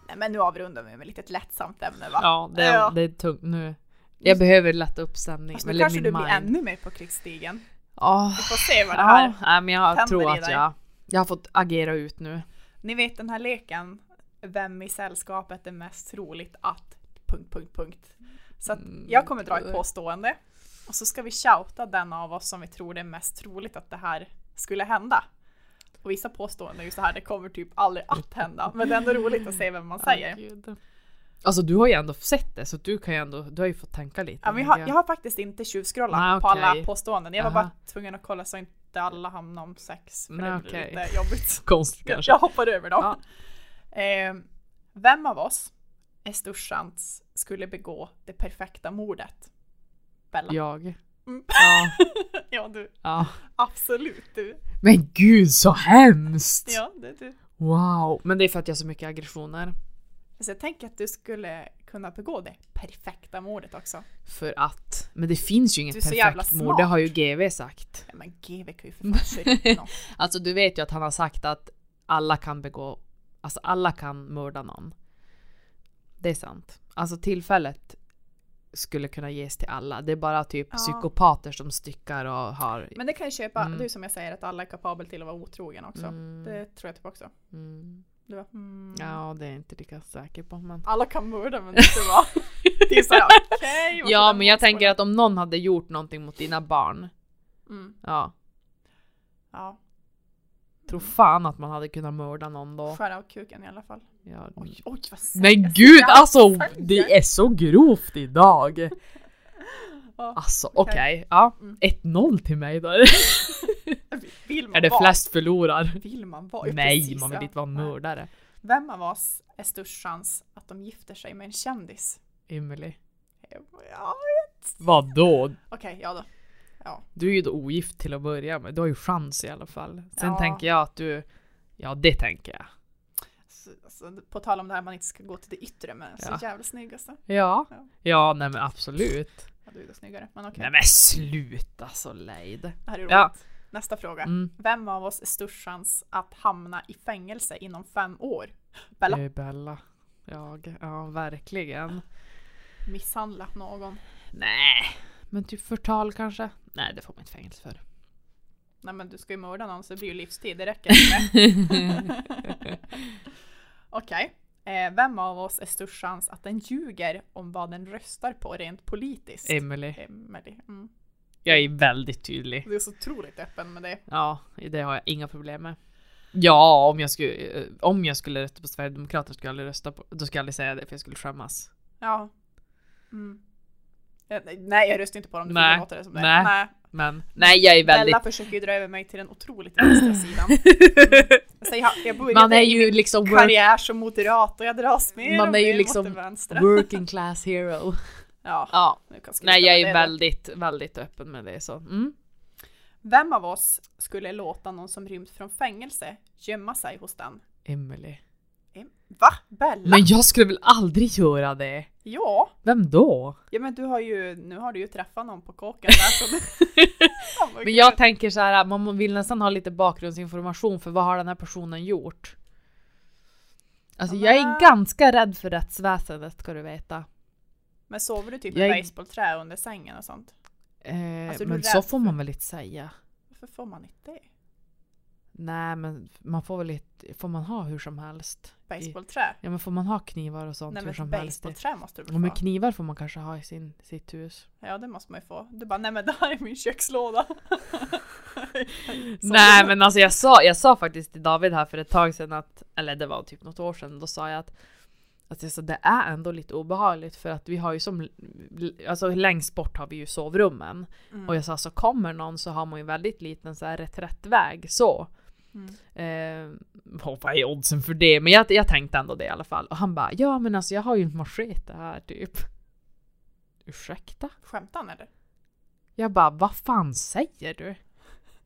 Speaker 2: Nej, men nu avrundar vi med lite ett lättsamt ämne va?
Speaker 1: Ja, det,
Speaker 2: Ja.
Speaker 1: det är tungt nu. Jag behöver lätta upp stämningen.
Speaker 2: Fast nu kanske du blir ännu mer på krigsstigen.
Speaker 1: Ja,
Speaker 2: Vi får se vad det
Speaker 1: ja,
Speaker 2: här...
Speaker 1: nej, men jag
Speaker 2: tänder i
Speaker 1: tror att
Speaker 2: dig.
Speaker 1: jag, jag har fått agera ut nu.
Speaker 2: Ni vet den här leken, vem i sällskapet är mest troligt att... Punkt, punkt, punkt. Så att
Speaker 1: Mm,
Speaker 2: jag kommer dra ett påstående och så ska vi shouta den av oss som vi tror det är mest troligt att det här skulle hända. Och vissa påståenden är ju så här, det kommer typ aldrig att hända. Men det är ändå roligt att se vem man säger.
Speaker 1: Alltså du har ju ändå sett det så du kan ju ändå, du har ju fått tänka lite.
Speaker 2: Ja, men jag, har,
Speaker 1: tänker
Speaker 2: jag har faktiskt inte tjuvscrollat
Speaker 1: Nej,
Speaker 2: på alla
Speaker 1: okej.
Speaker 2: påståenden. Jag var
Speaker 1: Aha.
Speaker 2: bara tvungen att kolla så inte alla hamnar om sex. För
Speaker 1: Nej,
Speaker 2: det blir
Speaker 1: okej.
Speaker 2: lite jobbigt.
Speaker 1: Konstigt
Speaker 2: Jag,
Speaker 1: kanske.
Speaker 2: jag hoppar över dem. Eh, vem av oss är störst chans skulle begå det perfekta mordet? Bella.
Speaker 1: Jag.
Speaker 2: Mm.
Speaker 1: Ja,
Speaker 2: Ja, du.
Speaker 1: ja.
Speaker 2: Absolut du.
Speaker 1: Men gud så hemskt!
Speaker 2: Ja, det är du.
Speaker 1: Wow! Men det är för att jag har så mycket aggressioner.
Speaker 2: Alltså, jag tänker att du skulle kunna begå det perfekta mordet också.
Speaker 1: För att, men det finns ju inget
Speaker 2: Du är så jävla
Speaker 1: perfekt
Speaker 2: smart.
Speaker 1: mord, det har ju GV sagt.
Speaker 2: Ja, men GW kan ju för fan köra upp någon.
Speaker 1: Alltså du vet ju att han har sagt att alla kan begå, alltså alla kan mörda någon. Det är sant. Alltså tillfället skulle kunna ges till alla. Det är bara typ
Speaker 2: Ja.
Speaker 1: psykopater som styckar och har...
Speaker 2: Men det kan jag köpa.
Speaker 1: Mm.
Speaker 2: Du som jag säger att alla är kapabel till att vara otrogen också.
Speaker 1: Mm,
Speaker 2: Det tror jag typ också.
Speaker 1: mm.
Speaker 2: Du bara, mm.
Speaker 1: Ja, det är jag inte lika säker på. Men...
Speaker 2: Alla kan mörda men inte vara... Det är såhär, okej. varför
Speaker 1: Ja,
Speaker 2: den
Speaker 1: men jag
Speaker 2: målskolan?
Speaker 1: tänker att om någon hade gjort någonting mot dina barn,
Speaker 2: Mm.
Speaker 1: ja,
Speaker 2: Ja,
Speaker 1: tror
Speaker 2: Mm.
Speaker 1: fan att man hade kunnat mörda någon då.
Speaker 2: skära av kuken i alla fall.
Speaker 1: Ja.
Speaker 2: Oj, oj vad
Speaker 1: Men
Speaker 2: säger
Speaker 1: gud
Speaker 2: jag?
Speaker 1: alltså,
Speaker 2: Säger.
Speaker 1: det är så grovt idag!
Speaker 2: Ja,
Speaker 1: Alltså
Speaker 2: Okej.
Speaker 1: okej, ja.
Speaker 2: Mm.
Speaker 1: 1-0 till mig då.
Speaker 2: Vill man
Speaker 1: Är det
Speaker 2: vara?
Speaker 1: flest förlorar?
Speaker 2: Vill man vara? Ja,
Speaker 1: Nej,
Speaker 2: precis,
Speaker 1: man vill
Speaker 2: ja.
Speaker 1: inte vara mördare.
Speaker 2: Vem av oss är störst chans att de gifter sig med en kändis? Eh,
Speaker 1: Emily.
Speaker 2: Ja,
Speaker 1: Vadå?
Speaker 2: Okej, ja då.
Speaker 1: Du är ju då ogift till att börja med, du har ju chans i alla fall. Sen
Speaker 2: Ja.
Speaker 1: tänker jag att du, ja det tänker jag.
Speaker 2: Så, så, på tal om det här man inte ska gå till det yttre men så
Speaker 1: Ja.
Speaker 2: jävla snygg alltså.
Speaker 1: Ja,
Speaker 2: Ja.
Speaker 1: ja nej men absolut.
Speaker 2: Ja, du är då snyggare. Men okej,
Speaker 1: Nej men sluta så lejd.
Speaker 2: det här är roligt.
Speaker 1: Ja.
Speaker 2: Nästa fråga.
Speaker 1: Mm.
Speaker 2: Vem av oss är störst chans att hamna i fängelse inom fem år? Bella,
Speaker 1: Eh, Bella. Jag, ja verkligen.
Speaker 2: misshandla någon.
Speaker 1: Nej, men typ förtal kanske? Nej det får man inte fängelse för.
Speaker 2: Nej men du ska ju mörda någon så det blir ju livstid, det räcker inte. Okej. Eh, vem av oss är störst chans att den ljuger om vad den röstar på rent politiskt?
Speaker 1: Emily.
Speaker 2: Emelie. Mm.
Speaker 1: Jag är väldigt tydlig.
Speaker 2: Du är så otroligt öppen med det.
Speaker 1: Ja, det har jag inga problem med. Ja, om jag skulle, eh, om jag skulle rösta på Sverigedemokraterna skulle jag aldrig rösta på, då skulle jag aldrig säga det för jag skulle skämmas.
Speaker 2: Ja. Mm. Eh, Nej, jag röstar inte på dem. Du
Speaker 1: Nej.
Speaker 2: får låta det som det.
Speaker 1: Nej.
Speaker 2: Nej.
Speaker 1: Men nej, jag är väldigt...
Speaker 2: Bella försöker ju dra över mig till den otroligt vänstra sidan. Så jag, jag började
Speaker 1: man är
Speaker 2: i
Speaker 1: ju
Speaker 2: min
Speaker 1: liksom work,
Speaker 2: karriär som moderat och jag dras mer
Speaker 1: Man
Speaker 2: och
Speaker 1: är ju
Speaker 2: mer
Speaker 1: liksom
Speaker 2: mot det vänstra.
Speaker 1: working class hero.
Speaker 2: Ja,
Speaker 1: Ja,
Speaker 2: nu kan sluta
Speaker 1: nej
Speaker 2: med
Speaker 1: jag
Speaker 2: det
Speaker 1: är
Speaker 2: då.
Speaker 1: väldigt, väldigt öppen med det så. Mm.
Speaker 2: Vem av oss skulle låta någon som rymt från fängelse gömma sig hos den?
Speaker 1: Emily.
Speaker 2: Em- Va? Bella?
Speaker 1: Men jag skulle väl aldrig göra det?
Speaker 2: Ja.
Speaker 1: Vem då?
Speaker 2: Ja men du har ju, nu har du ju träffat någon på kåken där som... Ja,
Speaker 1: Men
Speaker 2: gud.
Speaker 1: jag tänker så här, man vill nästan ha lite bakgrundsinformation för vad har den här personen gjort? Alltså
Speaker 2: Ja,
Speaker 1: jag
Speaker 2: men-
Speaker 1: är ganska rädd för rättsväsendet ska du veta.
Speaker 2: Men sover du typ
Speaker 1: Jag
Speaker 2: i
Speaker 1: är-
Speaker 2: basebollträ under sängen och sånt?
Speaker 1: Eh,
Speaker 2: Alltså, du är
Speaker 1: men
Speaker 2: rädd
Speaker 1: så får
Speaker 2: för-
Speaker 1: man väl inte säga?
Speaker 2: Varför får man inte det?
Speaker 1: Nej men man får väl inte, får man ha hur som helst? I,
Speaker 2: Basebollträ?
Speaker 1: ja men får man ha knivar och sånt
Speaker 2: Nej
Speaker 1: hur
Speaker 2: men
Speaker 1: som helst? Det-
Speaker 2: basebollträ måste du
Speaker 1: Ja, men
Speaker 2: väl få?
Speaker 1: knivar får man kanske ha i sin, sitt hus.
Speaker 2: Ja det måste man ju få. Du bara nej men det här är min kökslåda. Så-
Speaker 1: Nej men alltså jag sa, jag sa faktiskt till David här för ett tag sedan att, eller det var typ något år sedan, då sa jag att att alltså, det är ändå lite obehagligt för att vi har ju som, alltså längst bort har vi ju sovrummen.
Speaker 2: Mm.
Speaker 1: Och jag sa så kommer någon så har man ju väldigt liten så här reträttväg så.
Speaker 2: Mm.
Speaker 1: Eh, vad vad är oddsen för det? Men jag, jag tänkte ändå det i alla fall. Och han bara, ja men alltså jag har ju en machete här typ. Ursäkta?
Speaker 2: Skämtar han eller?
Speaker 1: Jag bara, vad fan säger du?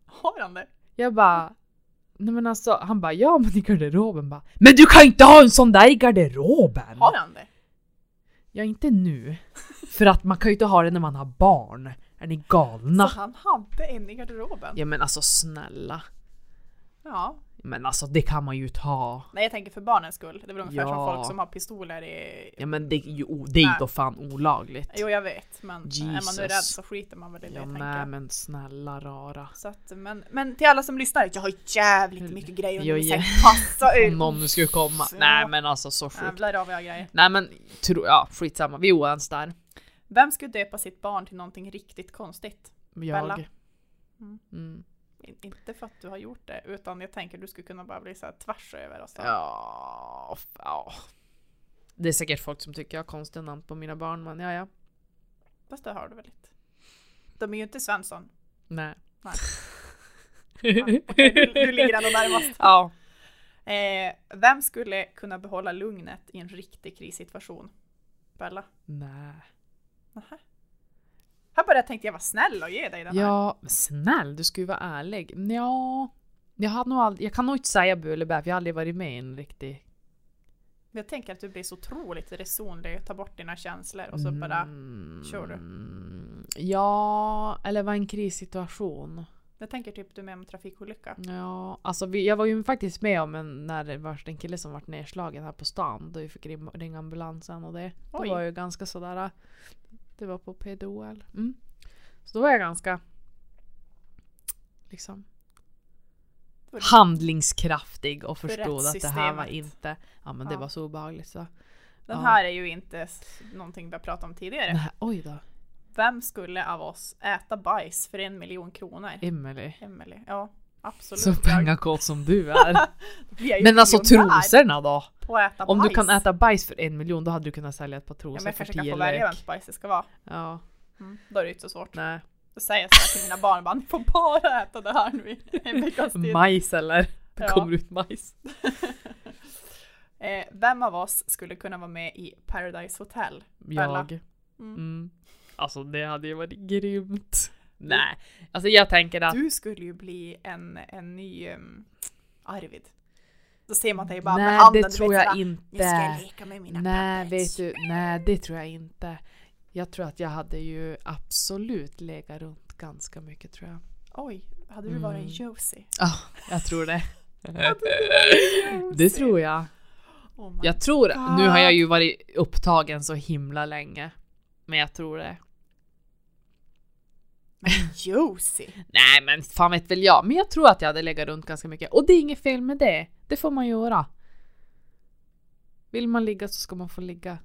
Speaker 2: Har han det?
Speaker 1: Jag bara, nej men alltså, han bara, ja men i garderoben bara. Men du kan inte ha en sån där i garderoben!
Speaker 2: Har han det?
Speaker 1: Ja, inte nu. För att man kan ju inte ha det när man har barn. Är ni galna?
Speaker 2: Så han hade en i garderoben?
Speaker 1: Ja men alltså snälla.
Speaker 2: Ja.
Speaker 1: Men alltså det kan man ju inte ha.
Speaker 2: Nej jag tänker för barnens skull. Det är väl ungefär som
Speaker 1: Ja.
Speaker 2: folk som har pistoler i...
Speaker 1: Ja men det, jo, det är ju
Speaker 2: Nej.
Speaker 1: då fan olagligt.
Speaker 2: Jo jag vet men är man
Speaker 1: Jesus.
Speaker 2: nu rädd så skiter man väl i det
Speaker 1: Ja,
Speaker 2: tänker
Speaker 1: nej
Speaker 2: jag.
Speaker 1: men snälla rara.
Speaker 2: Så att, men, men till alla som lyssnar, jag har jävligt mycket grejer under
Speaker 1: Jag
Speaker 2: min
Speaker 1: ge-
Speaker 2: säng. Passa
Speaker 1: Om
Speaker 2: ut!
Speaker 1: någon nu skulle komma.
Speaker 2: Så.
Speaker 1: Nej men alltså så sjukt.
Speaker 2: Jävlar av jag har grejer.
Speaker 1: Nej men tro, ja skitsamma, vi är oense där.
Speaker 2: Vem skulle döpa sitt barn till någonting riktigt konstigt? Bella.
Speaker 1: Jag.
Speaker 2: Mm.
Speaker 1: Mm.
Speaker 2: In- Inte för att du har gjort det, utan jag tänker du skulle kunna bara bli så här tvärs över och så.
Speaker 1: Ja, f- ja. Det är säkert folk som tycker jag har konstiga namn på mina barn men ja ja.
Speaker 2: Fast det har du väl inte? De är ju inte Svensson.
Speaker 1: Nej.
Speaker 2: Nej. Okej, du, du ligger ändå närmast.
Speaker 1: Ja.
Speaker 2: Eh, vem skulle kunna behålla lugnet i en riktig krissituation? Bella?
Speaker 1: Nej.
Speaker 2: Nähä. Här började jag tänka jag var snäll och ge dig den här.
Speaker 1: Ja, men snäll, du ska ju vara ärlig. Ja, jag, har nog aldrig, jag kan nog inte säga bu eller bä, för jag har aldrig varit med i en riktig...
Speaker 2: Men Jag tänker att du blir så otroligt resonlig, ta bort dina känslor och så bara...
Speaker 1: Mm,
Speaker 2: kör du.
Speaker 1: Ja, eller var en krissituation.
Speaker 2: Jag tänker typ du är med om en trafikolycka.
Speaker 1: Ja, alltså vi, jag var ju faktiskt med om en, när det var en kille som vart nedslagen här på stan. Då vi fick rim- ringa ambulansen och det. Då
Speaker 2: Oj.
Speaker 1: var jag ju ganska sådär. äh, Det var på PDOL. Mm. Så då var jag ganska liksom
Speaker 2: För-
Speaker 1: handlingskraftig och förstod att det här var
Speaker 2: rättssystemet.
Speaker 1: inte, ja men det
Speaker 2: Ja.
Speaker 1: var så obehagligt så.
Speaker 2: Den
Speaker 1: Ja.
Speaker 2: här är ju inte s- någonting vi har pratat om tidigare.
Speaker 1: Nej, oj då,
Speaker 2: Vem skulle av oss äta bajs för en miljon kronor?
Speaker 1: Emelie.
Speaker 2: Emelie. Ja, absolut.
Speaker 1: Så pengakåt som du är.
Speaker 2: Vi är ju
Speaker 1: Men alltså
Speaker 2: miljonär
Speaker 1: trosorna då?
Speaker 2: På att äta
Speaker 1: Om du
Speaker 2: bajs.
Speaker 1: kan äta bajs för en miljon då hade du kunnat sälja ett par
Speaker 2: Ja, men
Speaker 1: trosor
Speaker 2: jag
Speaker 1: för
Speaker 2: kanske kan
Speaker 1: tio
Speaker 2: få välja
Speaker 1: lek.
Speaker 2: vems bajs det ska vara.
Speaker 1: Ja,
Speaker 2: Mm. Då är det ju inte så svårt.
Speaker 1: nej.
Speaker 2: Då säger jag så här till mina barn bara, ni får bara äta det här nu i en veckas tid.
Speaker 1: Majs eller? Det
Speaker 2: Ja.
Speaker 1: kommer ut majs.
Speaker 2: Eh, vem av oss skulle kunna vara med i Paradise Hotel? Bella.
Speaker 1: Jag.
Speaker 2: Mm.
Speaker 1: Mm. Alltså det hade ju varit grymt. Nej, alltså jag tänker att
Speaker 2: Du skulle ju bli en, en ny ehm, Arvid. Då ser man dig bara med
Speaker 1: nej
Speaker 2: handen.
Speaker 1: det tror jag
Speaker 2: Nu ska jag
Speaker 1: inte.
Speaker 2: leka med mina
Speaker 1: Nej, vet
Speaker 2: puppets."
Speaker 1: du, nej det tror jag inte. Jag tror att jag hade ju absolut legat runt ganska mycket tror jag.
Speaker 2: Oj, hade du varit en
Speaker 1: Mm.
Speaker 2: Josie?
Speaker 1: Ja, jag tror det. det tror jag.
Speaker 2: Oh my
Speaker 1: Jag tror, nu har jag ju varit upptagen så himla länge. Men jag tror det.
Speaker 2: Josie!
Speaker 1: Nej men fan vet väl jag. Men jag tror att jag hade legat runt ganska mycket. Och det är inget fel med det. Det får man göra. Vill man ligga så ska man få ligga.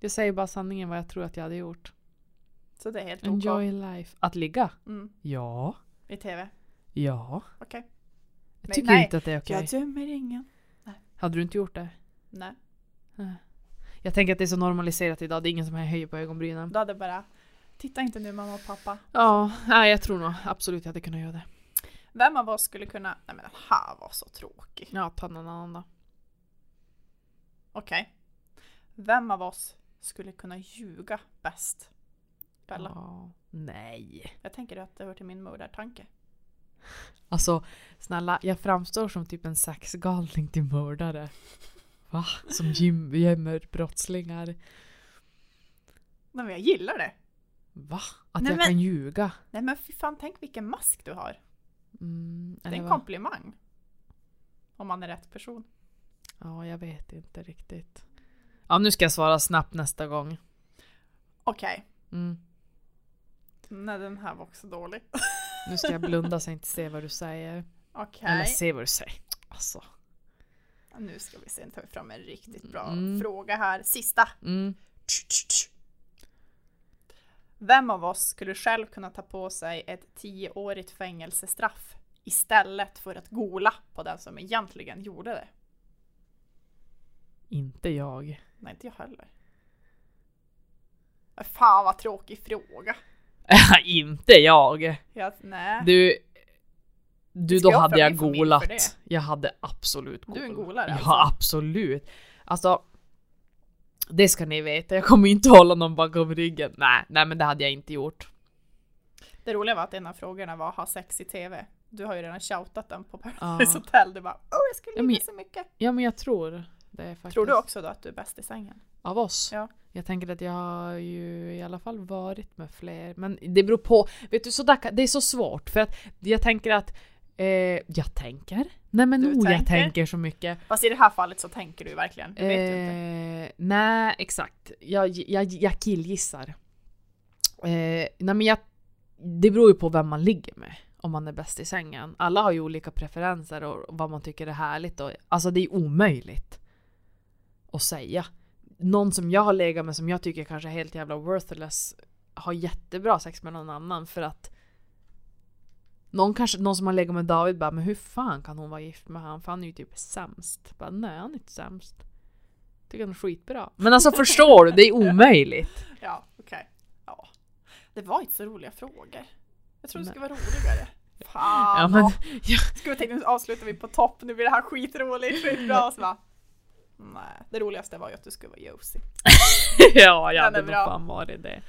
Speaker 1: Jag säger bara sanningen vad jag tror att jag hade gjort.
Speaker 2: Så det är helt okej.
Speaker 1: Enjoy life. Att ligga?
Speaker 2: Mm,
Speaker 1: Ja.
Speaker 2: I tv.
Speaker 1: Ja.
Speaker 2: Okej.
Speaker 1: Jag
Speaker 2: Men
Speaker 1: tycker
Speaker 2: nej,
Speaker 1: inte att det är okej.
Speaker 2: Jag dömer ingen.
Speaker 1: Hade du inte gjort det?
Speaker 2: Nej.
Speaker 1: Jag tänker att det är så normaliserat idag. Det är ingen som höjer på ögonbrynen.
Speaker 2: Då hade jag bara, titta inte nu mamma och pappa.
Speaker 1: Ja, nej, jag tror nog absolut jag hade kunnat göra det.
Speaker 2: Vem av oss skulle kunna, nej men den här var så tråkig.
Speaker 1: Ja, ta någon annan då.
Speaker 2: Okej. Vem av oss skulle kunna ljuga bäst? Bella.
Speaker 1: Ja. Nej.
Speaker 2: Jag tänker att det hör till min mördartanke.
Speaker 1: Alltså, snälla, jag framstår som typ en sexgalning till mördare. Va? Som gym- gömmer brottslingar.
Speaker 2: Nej men jag gillar det.
Speaker 1: Va? Att
Speaker 2: Nej,
Speaker 1: jag
Speaker 2: men-
Speaker 1: kan ljuga?
Speaker 2: Nej men fy fan, tänk vilken mask du har.
Speaker 1: Mm,
Speaker 2: Det är
Speaker 1: eller
Speaker 2: en
Speaker 1: vad?
Speaker 2: komplimang. Om man är rätt person.
Speaker 1: Ja, jag vet inte riktigt. Ja, nu ska jag svara snabbt nästa gång.
Speaker 2: Okej.
Speaker 1: Mm.
Speaker 2: Nej den här var också dålig.
Speaker 1: Nu ska jag blunda så jag inte ser vad du säger. Eller
Speaker 2: Okej.
Speaker 1: se vad du säger. Alltså.
Speaker 2: Nu ska vi se, nu tar vi fram en riktigt bra
Speaker 1: Mm.
Speaker 2: fråga här. Sista.
Speaker 1: Mm.
Speaker 2: Vem av oss skulle själv kunna ta på sig ett tioårigt fängelsestraff istället för att gola på den som egentligen gjorde det?
Speaker 1: Inte jag.
Speaker 2: Nej, inte jag heller. Äh, Fan vad tråkig fråga.
Speaker 1: inte jag.
Speaker 2: Jag, nej.
Speaker 1: Du, du
Speaker 2: Ska
Speaker 1: då
Speaker 2: jag
Speaker 1: hade
Speaker 2: följa
Speaker 1: jag
Speaker 2: min familj för
Speaker 1: golat.
Speaker 2: det?
Speaker 1: Jag hade absolut
Speaker 2: Du är en
Speaker 1: golat.
Speaker 2: golare
Speaker 1: Ja,
Speaker 2: alltså.
Speaker 1: absolut. Alltså, det ska ni veta. Jag kommer inte hålla någon bakom ryggen. Nej, nej men det hade jag inte gjort.
Speaker 2: Det roliga var att en av frågorna var ha sex i TV. Du har ju redan shoutat den på
Speaker 1: Ja.
Speaker 2: Paradise Hotel. Du bara åh jag skulle
Speaker 1: Ja,
Speaker 2: ja,
Speaker 1: men-
Speaker 2: så mycket.
Speaker 1: Ja men jag tror det faktiskt.
Speaker 2: Tror du också då att du är bäst i sängen?
Speaker 1: Av oss?
Speaker 2: Ja.
Speaker 1: Jag tänker att jag har ju i alla fall varit med fler. Men det beror på. Vet du, så där, kan- det är så svårt. För att jag tänker att... Eh, jag tänker? Nej men
Speaker 2: Du
Speaker 1: oh, jag
Speaker 2: tänker.
Speaker 1: tänker så mycket.
Speaker 2: Fast i det här fallet så tänker du ju verkligen. Du vet ju inte.
Speaker 1: Eh, nej, exakt. Jag, jag, jag killgissar. Eh, nej, men jag, det beror ju på vem man ligger med. Om man är bäst i sängen. Alla har ju olika preferenser och vad man tycker är härligt. Och, alltså det är omöjligt att säga. Någon som jag har legat med som jag tycker kanske är helt jävla worthless har jättebra sex med någon annan för att någon, kanske, någon som har legat med David bara men hur fan kan hon vara gift med han för han är ju typ sämst. Bara, nej han är inte sämst. Tycker han är skitbra. Men alltså förstår du? Det är omöjligt.
Speaker 2: Ja, okej. Ja. Det var inte så roliga frågor. Jag trodde det
Speaker 1: Nej.
Speaker 2: skulle vara roligare. Fan.
Speaker 1: Ja, men,
Speaker 2: ja. Ska vi tänka nu avslutar vi på topp, nu blir det här skitroligt, skitbra. Och så bara, nej. Det roligaste var ju att du skulle vara Josie.
Speaker 1: ja, jag
Speaker 2: Den
Speaker 1: hade
Speaker 2: är
Speaker 1: nog
Speaker 2: bra.
Speaker 1: fan varit det.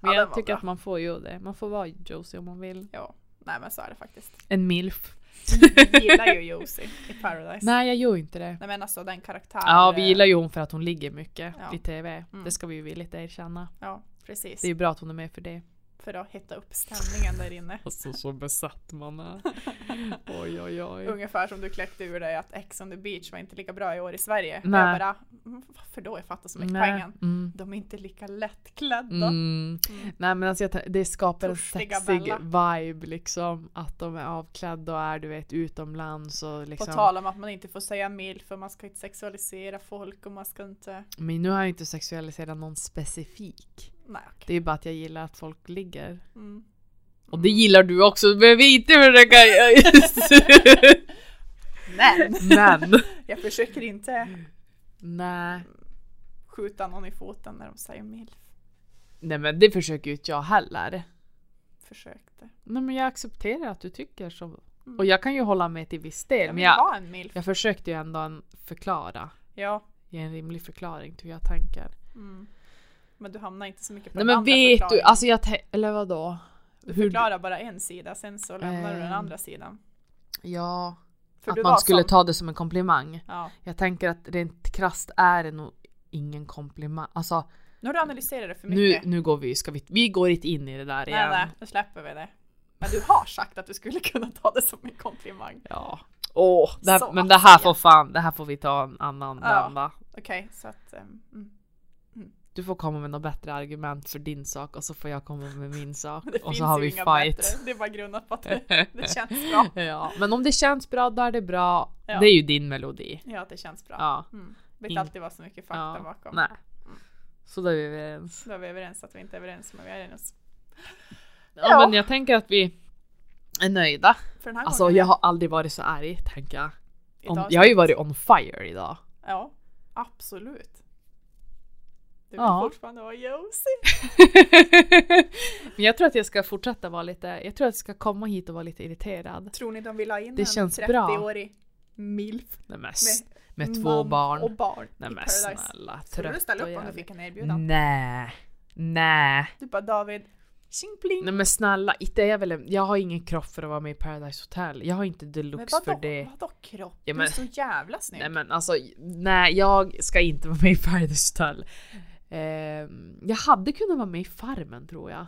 Speaker 1: Men
Speaker 2: Ja, den
Speaker 1: jag
Speaker 2: var
Speaker 1: tycker
Speaker 2: bra.
Speaker 1: att man får ju det. Man får vara Josie om man vill.
Speaker 2: Ja, nej men så är det faktiskt.
Speaker 1: En milf.
Speaker 2: Vi gillar ju Josie i Paradise. Nej.
Speaker 1: Nej, jag gör ju inte det.
Speaker 2: men alltså den karaktären.
Speaker 1: Ja, vi gillar ju hon för att hon ligger mycket
Speaker 2: Ja.
Speaker 1: i TV.
Speaker 2: Mm.
Speaker 1: Det ska vi ju villigt erkänna.
Speaker 2: Ja, eh, precis.
Speaker 1: Det är ju bra att hon är med för det.
Speaker 2: För att hitta upp stämningen där inne.
Speaker 1: Alltså så besatt man är. Oj, oj, oj.
Speaker 2: Ungefär som du kläckte ur dig att Ex on the beach var inte lika bra i år i Sverige.
Speaker 1: Nej.
Speaker 2: Nej. Jag bara, "Mm, varför då? Jag fattar så mycket pengar.
Speaker 1: Mm.
Speaker 2: De är inte lika lättklädda.
Speaker 1: Mm.
Speaker 2: Mm.
Speaker 1: Nej men alltså jag, tä- det skapar en
Speaker 2: Torstiga
Speaker 1: sexig
Speaker 2: Bella.
Speaker 1: vibe liksom. Att de är avklädda och är du vet utomlands och
Speaker 2: På
Speaker 1: liksom.
Speaker 2: tal om att man inte får säga mil för man ska inte sexualisera folk och man ska inte...
Speaker 1: Men nu har jag inte sexualiserat någon specifik.
Speaker 2: Nej,
Speaker 1: Det
Speaker 2: okej.
Speaker 1: är ju bara att jag gillar att folk ligger.
Speaker 2: Mm.
Speaker 1: Och det gillar du också, du behöver inte försöka...
Speaker 2: Men!
Speaker 1: Men!
Speaker 2: Jag försöker inte
Speaker 1: Nej.
Speaker 2: skjuta någon i foten när de säger mil.
Speaker 1: Nej men det försöker ju inte jag heller.
Speaker 2: Försökte.
Speaker 1: Nej men jag accepterar att du tycker så.
Speaker 2: Mm.
Speaker 1: Och jag kan ju hålla med till viss
Speaker 2: Jag
Speaker 1: del. Men
Speaker 2: vill
Speaker 1: jag,
Speaker 2: vara en milf.
Speaker 1: jag försökte ju ändå en förklara.
Speaker 2: Ja.
Speaker 1: Ge en rimlig förklaring till hur jag tänker.
Speaker 2: Mm. Men du hamnar inte så mycket på
Speaker 1: Nej
Speaker 2: den
Speaker 1: men
Speaker 2: andra
Speaker 1: vet du,
Speaker 2: förklaringen.
Speaker 1: alltså jag tänker, eller vadå?
Speaker 2: du
Speaker 1: hur-
Speaker 2: förklarar bara en sida, sen så lämnar du den
Speaker 1: Eh,
Speaker 2: andra sidan.
Speaker 1: Ja,
Speaker 2: För du
Speaker 1: att
Speaker 2: var
Speaker 1: man skulle
Speaker 2: som-
Speaker 1: ta det som en komplimang.
Speaker 2: Ja.
Speaker 1: Jag tänker att rent krasst är det nog ingen komplimang. Alltså
Speaker 2: Nu har du analyserat det för
Speaker 1: nu,
Speaker 2: mycket.
Speaker 1: nu går vi, ska vi, vi går inte in i det där
Speaker 2: nej,
Speaker 1: igen.
Speaker 2: nej, nu släpper vi det. Men du har sagt att du skulle kunna ta det som en komplimang.
Speaker 1: Ja. Åh, det här,
Speaker 2: Så
Speaker 1: men det här
Speaker 2: att säga.
Speaker 1: får fan, det här får vi ta en annan
Speaker 2: Ja.
Speaker 1: vända.
Speaker 2: Okej, så att... ehm, Mm.
Speaker 1: Du får komma med något bättre argument för din sak och så får jag komma med min sak
Speaker 2: Det
Speaker 1: och
Speaker 2: finns
Speaker 1: så har
Speaker 2: ju
Speaker 1: vi
Speaker 2: inga
Speaker 1: fight.
Speaker 2: Bättre. Det är bara grundat på att det, det känns bra.
Speaker 1: Ja, men om det känns bra då är det bra.
Speaker 2: Ja.
Speaker 1: Det är ju din melodi.
Speaker 2: Ja, att det känns bra.
Speaker 1: Ja.
Speaker 2: Mm. Det vet
Speaker 1: In-
Speaker 2: alltid vara så mycket fakta
Speaker 1: ja.
Speaker 2: bakom.
Speaker 1: Nej. Så då är vi överens.
Speaker 2: Då är vi överens att vi inte är överens, men vi är överens.
Speaker 1: Ja,
Speaker 2: Ja.
Speaker 1: men jag tänker att vi är nöjda.
Speaker 2: För den här
Speaker 1: Alltså
Speaker 2: gången,
Speaker 1: jag har aldrig varit så arg, tänker jag.
Speaker 2: idag
Speaker 1: Om,
Speaker 2: så-
Speaker 1: jag har ju varit on fire idag.
Speaker 2: Ja, absolut. Du vill
Speaker 1: Ja.
Speaker 2: fortfarande vara Josie.
Speaker 1: men jag tror att jag ska fortsätta vara lite, jag tror att jag ska komma hit och vara lite irriterad.
Speaker 2: Tror ni de vill ha in
Speaker 1: Det
Speaker 2: en
Speaker 1: känns bra.
Speaker 2: 30-årig milf
Speaker 1: Nej, men, s-
Speaker 2: med,
Speaker 1: med två
Speaker 2: man och
Speaker 1: barn.
Speaker 2: barn
Speaker 1: Nej men
Speaker 2: i Paradise?
Speaker 1: snälla,
Speaker 2: Skulle du
Speaker 1: trött
Speaker 2: ställa
Speaker 1: och Mm.
Speaker 2: upp om du
Speaker 1: jävlig.
Speaker 2: fick en erbjudan?
Speaker 1: Nej. Nej.
Speaker 2: Du bara David, tjing pling.
Speaker 1: Nej men snälla, inte är jag väl en, jag har ingen kropp för att vara med i Paradise Hotel. Jag har inte
Speaker 2: Men
Speaker 1: deluxe för
Speaker 2: vadå,
Speaker 1: det.
Speaker 2: vadå kropp?
Speaker 1: Ja,
Speaker 2: Du är
Speaker 1: men-
Speaker 2: så jävla snygg.
Speaker 1: Nej men alltså, nej jag ska inte vara med i Paradise Hotel. Eh, jag hade kunnat vara med i Farmen tror jag.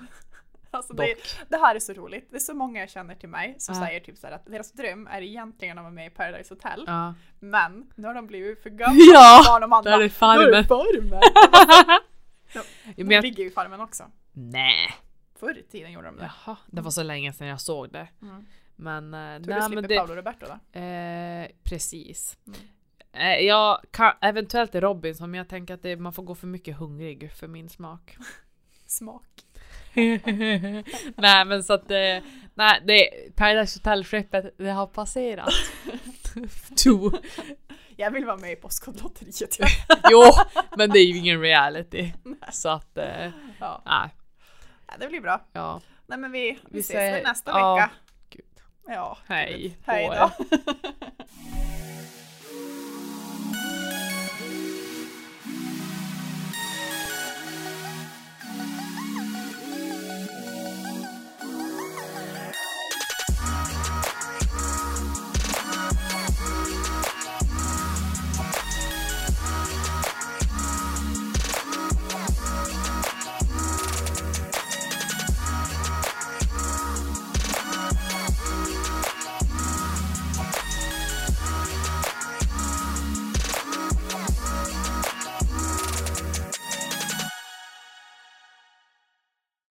Speaker 2: Alltså det,
Speaker 1: Dock.
Speaker 2: det här är så roligt. Det är så många jag känner till mig som
Speaker 1: Ja.
Speaker 2: säger typ så här att deras dröm är egentligen att vara med i Paradise Hotel.
Speaker 1: Ja,
Speaker 2: Men nu har de blivit för gamla
Speaker 1: Ja,
Speaker 2: barn och man
Speaker 1: där
Speaker 2: bara,
Speaker 1: är Farmen.
Speaker 2: Farmen!
Speaker 1: Ja,
Speaker 2: De
Speaker 1: men jag,
Speaker 2: ligger ju i Farmen också.
Speaker 1: nej.
Speaker 2: Förr i tiden gjorde de det.
Speaker 1: Jaha, det var så länge sedan jag såg det.
Speaker 2: Mm.
Speaker 1: Men, eh,
Speaker 2: Tror du
Speaker 1: nej
Speaker 2: slipper
Speaker 1: men det,
Speaker 2: Paolo Roberto då?
Speaker 1: eh, precis.
Speaker 2: Mm.
Speaker 1: Eh, jag kan, eventuellt är Robinson men jag tänker att det, man får gå för mycket hungrig för min smak.
Speaker 2: Smak.
Speaker 1: nej men så att, eh, nej det, Paradise Hotel-skeppet, det har passerat. to.
Speaker 2: Jag vill vara med i Postkodlotteriet.
Speaker 1: Jo, men det är ju ingen reality. Så att, eh,
Speaker 2: ja.
Speaker 1: nej.
Speaker 2: ja, det blir bra.
Speaker 1: Ja.
Speaker 2: Nej men vi, vi,
Speaker 1: Vi
Speaker 2: ses
Speaker 1: säger-
Speaker 2: väl nästa
Speaker 1: ja.
Speaker 2: vecka.
Speaker 1: Gud.
Speaker 2: Ja.
Speaker 1: Hej.
Speaker 2: Hej
Speaker 1: på
Speaker 2: då.
Speaker 1: er.